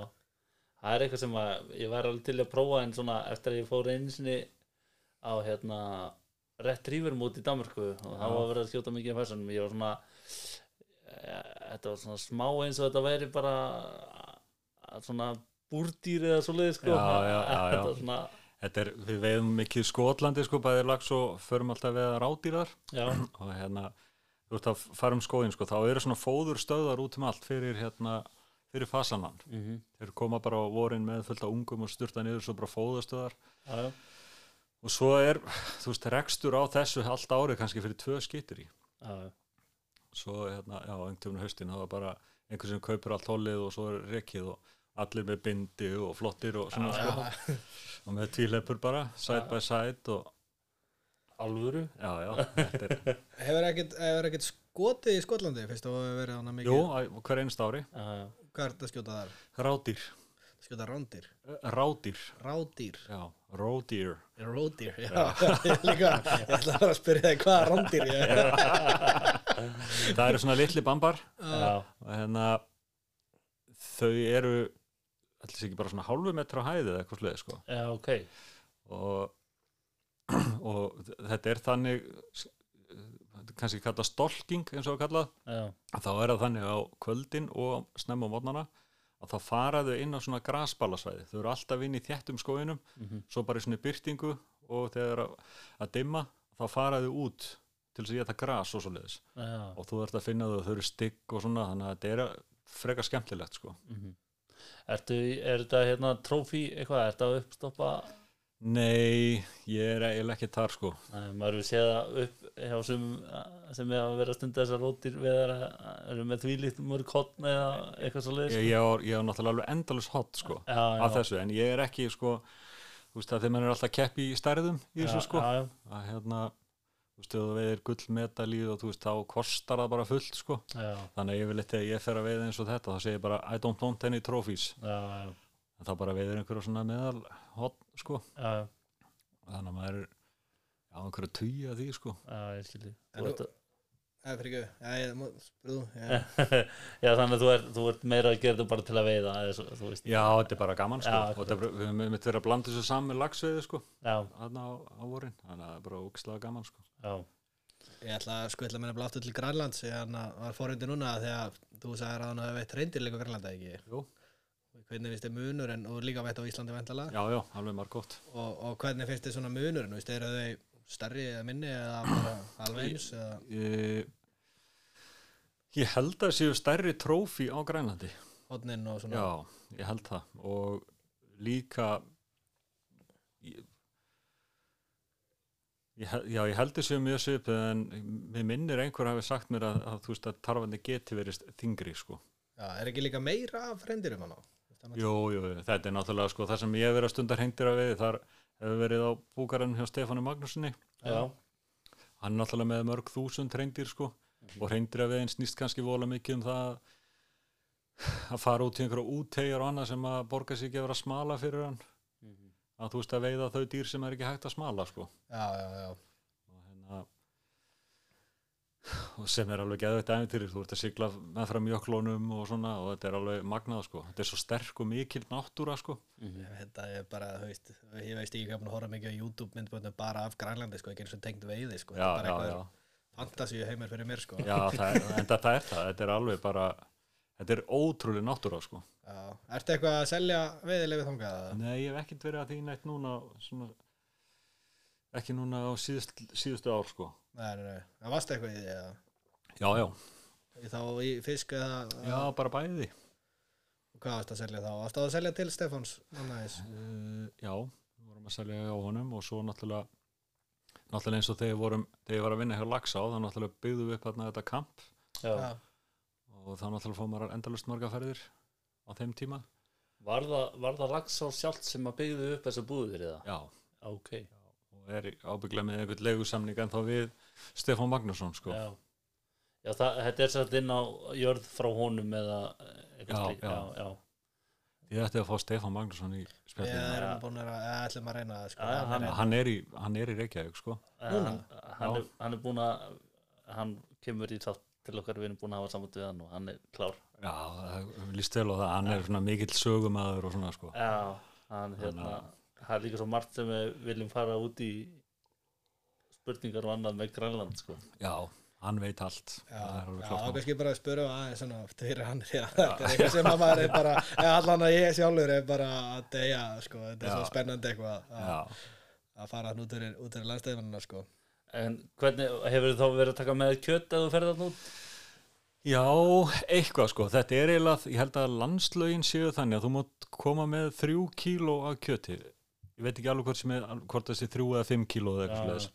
S1: það er eitthvað sem að ég væri alveg til að prófa en svona eftir að ég fór einu sinni á hérna retriever mót í Danmörku og það
S3: Já.
S1: var verið að skjóta mikið af fessanum ég var svona eh, þetta var svona smá eins og þetta væri bara eh, svona búrdýr eða svoleiði sko
S3: Já, já, já, já.
S1: þetta var svona
S3: Þetta er, við veiðum mikið í Skotlandi sko, bæðir lags og förum alltaf að veiða rádýrar
S1: já,
S3: og hérna, þú ert að fara um skóðin sko, þá eru svona fóður stöðar út um allt fyrir hérna, fyrir fasanan
S1: mm
S3: þeir koma bara á vorin með fullt af ungum og styrta niður svo bara fóðastöðar
S1: já, já.
S3: og svo er, þú veist, rekstur á þessu allt árið kannski fyrir tvö skittur í
S1: Já, já.
S3: svo, hérna, já, einhvern haustin þá er bara einhver sem kaupir allt hólið og svo er rekið og allir með bindi og flottir og svona sko, og með tvíleipur bara, side by side og
S1: alvöru
S3: já, já, þetta er,
S2: Hefur ekkert, hefur ekkert skotið í Skotlandi fyrst og verið hana mikið
S3: jú, að- hver einst ári
S1: já, já.
S2: Hvað er þetta að skjóta þar?
S3: rádýr,
S2: Skjóta rándýr,
S3: rádýr
S2: rádýr
S3: já, ródýr
S2: Ródýr, já, ég líka Ég ætla bara að spyrja þig hvað rándýr ég er
S3: það eru svona litli bambar
S1: Já,
S3: og hérna þau eru allir sér ekki bara svona hálfu metra á hæði eða eitthvað sluðið sko
S1: já, ok
S3: og, og þetta er þannig s- þetta er kannski kallað stolking eins og það er kallað
S1: Já,
S3: að þá er það þannig á kvöldin og snemma á mótnana að þá fara þau inn á svona grasballasvæði þau eru alltaf inn í þéttum skóinum
S1: Mhm.
S3: svo bara í svona byrtingu og þegar að, að dimma þá fara þau út til þess að geta gras og svo leiðis
S1: já
S3: og þú ert að finna þau að þau eru stygg og svona þannig að þetta er að- frekar skemmtilegt sko
S1: Mhm. Ertu, er þetta hérna trófí eitthvað, er þetta að uppstoppa
S3: Nei, ég er eiginlega ekki þar sko
S1: Nei, maður hefur séð það upp hjá sem, sem er að vera að stunda þessar rótir við að eru með þvílíkt mörg hotn eða eitthvað svo leiðis
S3: Ég, ég, á, ég á náttúrulega alveg endalus hot sko
S1: já, já,
S3: af þessu, en ég er ekki sko þú veist að þeim er alltaf keppi í stærðum í þessu sko
S1: já, já,
S3: að hérna, þú veist, ef þú veiðir gullmedalíð og þú veist, þá kostar það bara fullt sko,
S1: já,
S3: þannig að ég vil eitthvað ég fer að veiða eins og þetta, þá segir ég bara I don't want any trophies,
S1: já, já,
S3: en þá bara veiðir einhverja svona meðal hot sko,
S1: já, já,
S3: þannig að maður er á einhverju tugi að því sko
S1: já, ég skilji
S2: En þú- Það er fyrir ekki, já, ég má spyrðu já.
S1: Já, þannig að þú ert, þú ert meira að gera þetta bara til að veiða eða svo, þú veist
S3: Já, þetta er bara gaman sko,
S1: Já,
S3: og þetta er bara, við höfum einmitt verið að blanda þessu saman með lagsveiði sko,
S1: Já,
S3: þarna á, á vorin þannig að það er bara ógislega gaman sko
S1: já,
S2: Ég ætla að skvilla mér nefnilega aftur til Grænlands Ég hann var fórhundin núna þegar þú sagðir að hann hefði veitt reyndirleika Grænlanda ekki
S3: Jú,
S2: Hvernig finnst þið munurinn og líka veitt á Íslandi vantala
S3: já, já, alveg margótt
S2: og, og hvernig finnst þið svona munurinn, veist, eru þau stærri eða minni eða bara alveg eins eða
S3: ég, ég held að séu stærri trófi á Grænlandi
S2: hotnin og svona
S3: Já, ég held það og líka ég, ég, hel- já, ég held þessu mjög svipið en mér minnir einhver hafi sagt mér að, að þú veist að tarfandi geti verið þingri sko.
S2: Já, er ekki líka meira af reyndirum hann á?
S3: Jú, jú, jú, þetta er náttúrulega sko það sem ég hef verið að stunda hreindir að við þar hefur verið á búkarinn hjá Stefánu Magnúsinni
S1: já,
S3: hann er náttúrulega með mörg þúsund hreindir sko og hreindir að við einn snýst kannski vola mikið um það að fara út í einhverja útegjar og annað sem að borga sig ekki að vera að smala fyrir hann
S1: Mhm.
S3: að þú veist að veiða þau dýr sem er ekki hægt að smala sko
S2: Já, já, já,
S3: og, hérna, og sem er alveg geðvægt æfintýri þú ert að sigla meðfram jöklónum og svona og þetta er alveg magnað sko þetta er svo sterk og mikil náttúra sko
S2: þetta er bara, þú veist, ég veist ekki hvað búin að horfa mikið á YouTube myndböndum bara af Grænlandi, sko, ekki eins og tengt veiði, sko,
S3: já,
S2: þetta er
S3: já,
S2: bara
S3: já,
S2: fantasíu heimir fyrir mér, sko.
S3: já það er, en það er það þetta er alveg bara þetta er ótrúlega náttúra sko
S2: Já. Ertu eitthvað að selja veiðilegið þangað? eða?
S3: nei, ég hef ekkert verið að því nætt núna svona, ekki núna á síðust, síðustu ár sko
S2: Nei, nei, nei, það varst eitthvað í því, eða?
S3: já, já,
S2: Í Þá í fisk eða,
S3: já, bara bæði
S2: hvað varst að selja þá? Varst að selja til Stefáns? Næs.
S3: uh, já, við vorum að selja á honum og svo náttúrulega náttúrulega eins og þegar, við vorum, þegar ég var að vinna hjá Laxá þá náttúrulega byggðum við upp hérna þetta kamp
S1: já
S3: og þá náttúrulega fóðum maður endalust marga ferðir á þeim tíma
S1: Var það, var það lagsá sjálft sem að byggðu upp þessar búðir eða?
S3: já,
S1: Ok,
S3: og er í- ábyggilega með einhvern leigusamning en þá við Stefán Magnússon sko
S1: já Já, það, þetta er satt inn á jörð frá honum eða
S3: Já,
S1: slíkt.
S3: já.
S1: já, já.
S3: ég ætti að fá Stefán Magnússon í
S2: Við
S3: spjallinu
S2: erum búin að, eða ætlum að reyna það, sko.
S1: Já, já,
S2: hann,
S1: hann-
S3: hann er í, hann er í Reykjavík sko
S1: Eh,
S2: Núna?
S1: hann, hann,
S3: Já.
S1: er, hann er búin að hann kemur í þátt til okkar við erum búin að hafa samband við hann og hann er klár
S3: Já, það líst vel á það, hann er svona mikill sögumæður og svona sko.
S1: já, hann hérna það er líka svo margt sem við viljum fara út í spurningar og annað með Grænland sko.
S3: Já, hann veit allt.
S2: Já,
S3: það er alveg
S2: já
S3: klárt mál.
S2: kannski bara að spura aðeins svona fyrir hann því að þetta er eitthvað sem að maður er bara eða allan að ég sjálfur er bara að deyja sko, þetta er svo
S3: Já.
S2: spennandi eitthvað að,
S3: Já.
S2: að fara hann út fyrir, út fyrir landstæðmanina sko.
S1: en hvernig hefur þá verið að taka með kjöt að þú ferð þarna út
S3: Já, eitthvað sko, þetta er eiginlega, ég held að landslögin séu þannig að þú mátt koma með þrjú kíló af kjöti. Ég veit ekki alveg hvort sem er, hvort þessi þrjú eða fimm kíló eða
S1: Já,
S3: eitthvað leðis.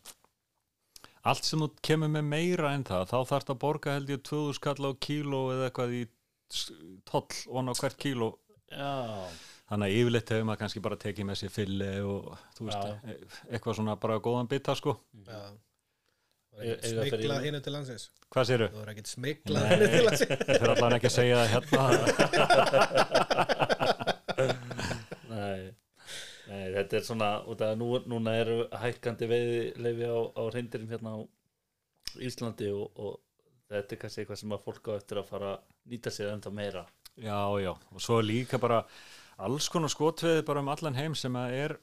S3: Allt sem þú kemur með meira en það, þá þarf að borga held ég 2000 kall á kíló eða eitthvað í toll on á hvert kíló.
S1: já,
S3: Þannig að yfirleitt hefur maður kannski bara tekið með sér fylli og þú veist, e- eitthvað svona bara góðan bita sko.
S2: Já.
S1: E- Mhm. eiga fyrir
S2: smikla
S1: yfir.
S2: hinu til landsins
S3: Hvað séru?
S2: þú er ekkert smikla
S3: Nei.
S2: hinu til landsins
S3: Ég fyrir allan ekki að segja það hérna.
S1: nei Nei, þetta er svona, út af að nú, núna eru hækkandi veiði leifi á, á reyndirum hérna á Íslandi og, og þetta er kannski eitthvað sem að fólk á eftir að fara að nýta sér ennþá meira.
S3: Já, já, og svo er líka bara alls konar skotveið bara um allan heim sem að er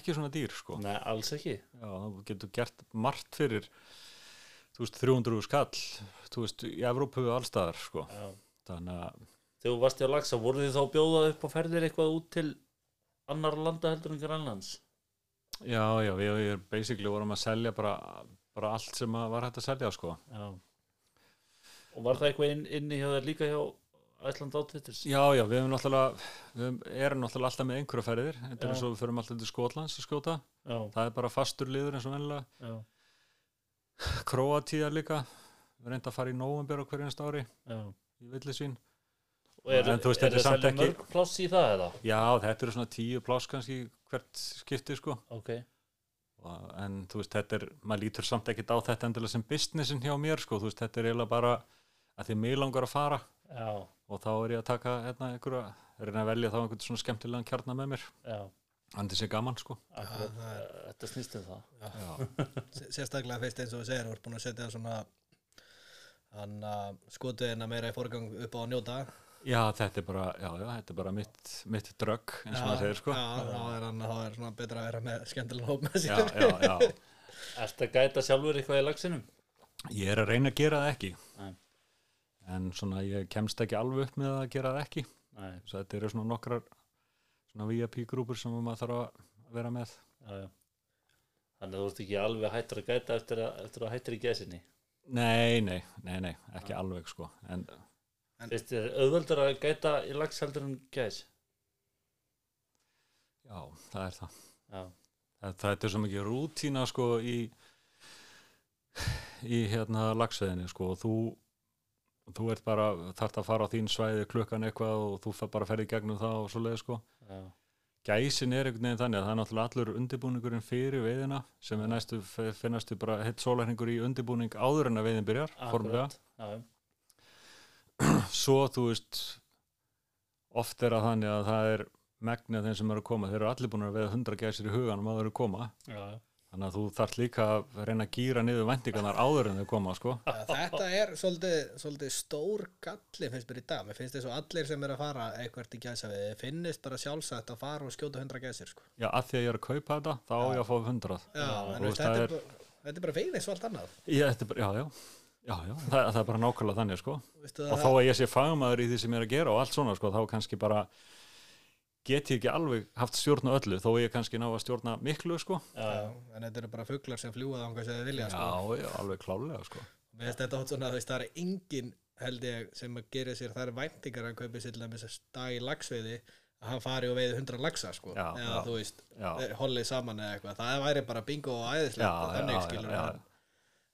S3: ekki svona dýr sko.
S1: Nei, alls ekki.
S3: Já, þú getur gert margt fyrir þú veist, 300 skall þú veist, í Evrópu og allstaðar sko.
S1: Já.
S3: þannig að
S1: Þegar þú varst í að lagsa, voru þið þá að bjóða upp á ferðir eitthvað út til annar landa heldur en Grænlands?
S3: já, já, við, við basically vorum að selja bara, bara allt sem að var hægt að selja sko.
S1: Já. Og var það eitthvað inn, inni hjá þér líka hjá Æsland Outfitters?
S3: Já, já, við erum náttúrulega við höfum- erum náttúrulega alltaf með einhverja ferðir þetta er
S1: Já.
S3: eins og við förum alltaf til Skotlands að skjóta
S1: Já,
S3: það er bara fastur liður eins og vennilega
S1: já,
S3: Króatíða líka við reynda að fara í nóvember á hverjast ári
S1: já.
S3: í villisvín
S1: Og er,
S3: En þú veist,
S1: er
S3: þetta er
S1: það
S3: samt
S1: selja
S3: ekki-
S1: mörg pláss í það eða?
S3: Já, þetta eru svona tíu pláss kannski hvert skipti sko
S1: Ok,
S3: Og- en þú veist, þetta er, maður lítur samt ekkit á þetta endilega sem businessin hjá mér sko þú veist, þetta er eiginlega bara að því mig langar að fara
S1: já,
S3: og þá er ég að taka hérna einhverja, reyna að velja þá einhvern svona skemmtilegan kjarnar með mér
S1: já.
S3: Andi sé gaman sko
S1: Akkurat,
S2: það er-
S1: eh, þetta snýst um það.
S3: Já,
S2: S- sérstaklega fyrst eins og þú segir, þú ert búin að setja svona hann að skotu hérna meira í forgang upp á að njóta
S3: já þetta er bara, já, já, þetta er bara mitt, mitt drögg eins og maður segir sko
S2: já, þá er hann þá er svona betra að vera með skemmtilega hóp með
S3: Já,
S2: sér
S3: já, já,
S1: Ertu að gæta sjálfur eitthvað í lagsinum?
S3: ég er að reyna að gera það ekki
S1: Nei.
S3: en svona ég kemst ekki alveg upp með að gera það ekki
S1: Nei,
S3: Svo þetta eru svona nokkrar svona VIP grúpur sem maður þarf að vera með.
S1: já, já. Þannig að þú ert ekki alveg hættur að gæta eftir að, eftir að hættur í gesinni.
S3: Nei, nei, nei, nei, ekki alveg sko. En
S1: Veist, er auðveldur að gæta í lags heldur en gæs?
S3: já, það er það.
S1: Já,
S3: Það, það er svo mikið rútína sko í, í hérna lagsveðinni sko og þú, þú ert bara, þarft að fara á þín svæði klukkan eitthvað og þú fer bara að ferði gegnum það og svoleiði sko.
S1: já,
S3: Gæsin er einhvern veginn þannig að það er náttúrulega allur undirbúningurinn fyrir veiðina sem er næstu, finnastu bara heitt sólarhengur í undirbúning áður en að veiðin byrjar, formulega.
S1: akkurat. Já, já.
S3: svo þú veist oft er að þannig að það er megna þeim sem eru að koma, þeir eru allir búin að veða hundra gæsir í huganum að þeir eru að koma
S1: já, já.
S3: þannig að þú þarf líka að reyna að gýra niður vendingarnar áður en þau koma sko.
S2: Já, Þetta er svolítið, svolítið stór galli finnst mér í dag, mér finnst þess að allir sem er að fara eitthvað í gæsa við, finnist bara sjálfsagt að fara og skjóta hundra gæsir sko.
S3: já, að því að ég er að kaupa þetta, þá á ég að fá hundrað
S2: Já, en veist,
S3: þú veist, það
S2: þetta,
S3: er-
S2: er... bara- þetta er bara veginn svo allt annað
S3: já, þetta er bara, já, já, já, já það, það er bara nákvæmlega þannig sko.
S2: Vistu,
S3: og
S2: það,
S3: þá að ég sé fagmaður í því sem ég er að gera og allt svona, sko, þá kannski bara get ég ekki alveg haft stjórn á öllu, þó ég kannski ná að stjórna miklu, sko.
S2: já, en þetta eru bara fuglar sem fljúa þangað sem þið vilja
S3: Já,
S2: sko.
S3: já, alveg klálega, sko.
S2: Mér finnst þetta átt svona, þú veist, það er engin held ég sem að gera sér þær væntingar að kaupi sér til dæmis að dag í lagsveiði að hann fari og veiði hundra lagsa sko.
S3: Já,
S2: eða
S3: já.
S2: þú veist,
S3: Já.
S2: þeir hollið saman eða eitthvað það væri bara bingo og æðislegt
S3: Já,
S2: og
S3: já,
S2: þannig
S3: já,
S2: skilur
S3: já.
S2: hann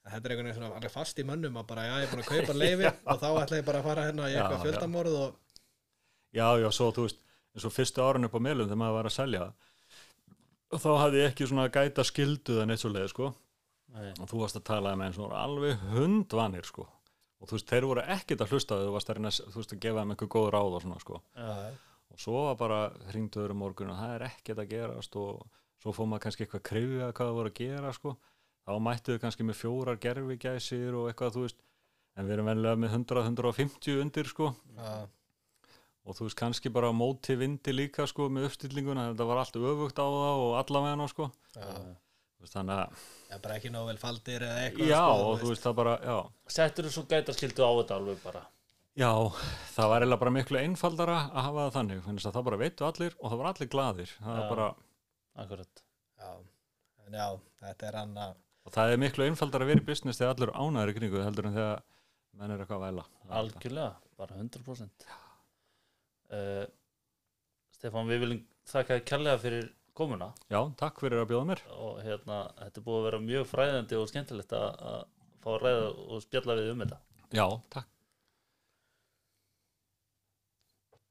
S2: þetta er einhvern veginn svona alveg fast í mönnum að bara, já, ég er búin að kaupa leifi og þá ætla ég bara að fara hérna í
S3: Já,
S2: eitthvað
S3: já.
S2: fjöldamorð og
S3: Já, já, svo þú veist, eins og fyrstu árun upp á meðlum þegar maður var að selja þá hafði ég ekki svona gæta skilduðan eitt svo leið, sko,
S1: Nei,
S3: og þú varst að tala um eins og voru alveg hundvanir, sko og þú veist, þeir voru ekkert að hlusta á þig, þú varst að reyna, að- þú veist, að gefa þeim einhver góð ráð og svona, sko,
S1: já,
S3: og svo var bara hringduður um morgun og það er ekkert að gerast og svo fór maður kannski eitthvað að krifja hvað það voru að gera, sko þá mættu þau kannski með fjórar gerfigæsir og eitthvað, þú veist en við erum venlega með 100-150 undir sko
S2: Já.
S3: og þú veist kannski bara á móti vindi líka sko með uppstillinguna, þetta var allt öfugt á það og allavega sko Þú veist, þannig að,
S2: Já, bara ekki nóg vel faldir eða eitthvað
S3: já
S2: sko,
S3: og þú veist það bara, já
S1: Settur þú svo gætaskildu á þetta alveg bara
S3: Já, það var eiginlega bara miklu einfaldara að hafa það þannig, þannig að það bara veitu allir og það var allir glaðir,
S1: Já.
S3: það er bara
S1: Akkurat
S2: já. En já, þetta er hann að
S3: og það er miklu einfaldara að vera í business þegar allir ánæður í kringu heldur en þegar menn er eitthvað að væla
S1: Algjörlega, bara 100% uh, Stefán, við viljum þakka þér kærlega fyrir komuna
S3: Já, takk fyrir að bjóða mér
S1: og hérna, þetta er búið að vera mjög fræðandi og skemmtilegt að- að fá að ræða og spjalla við um þetta
S3: Já, takk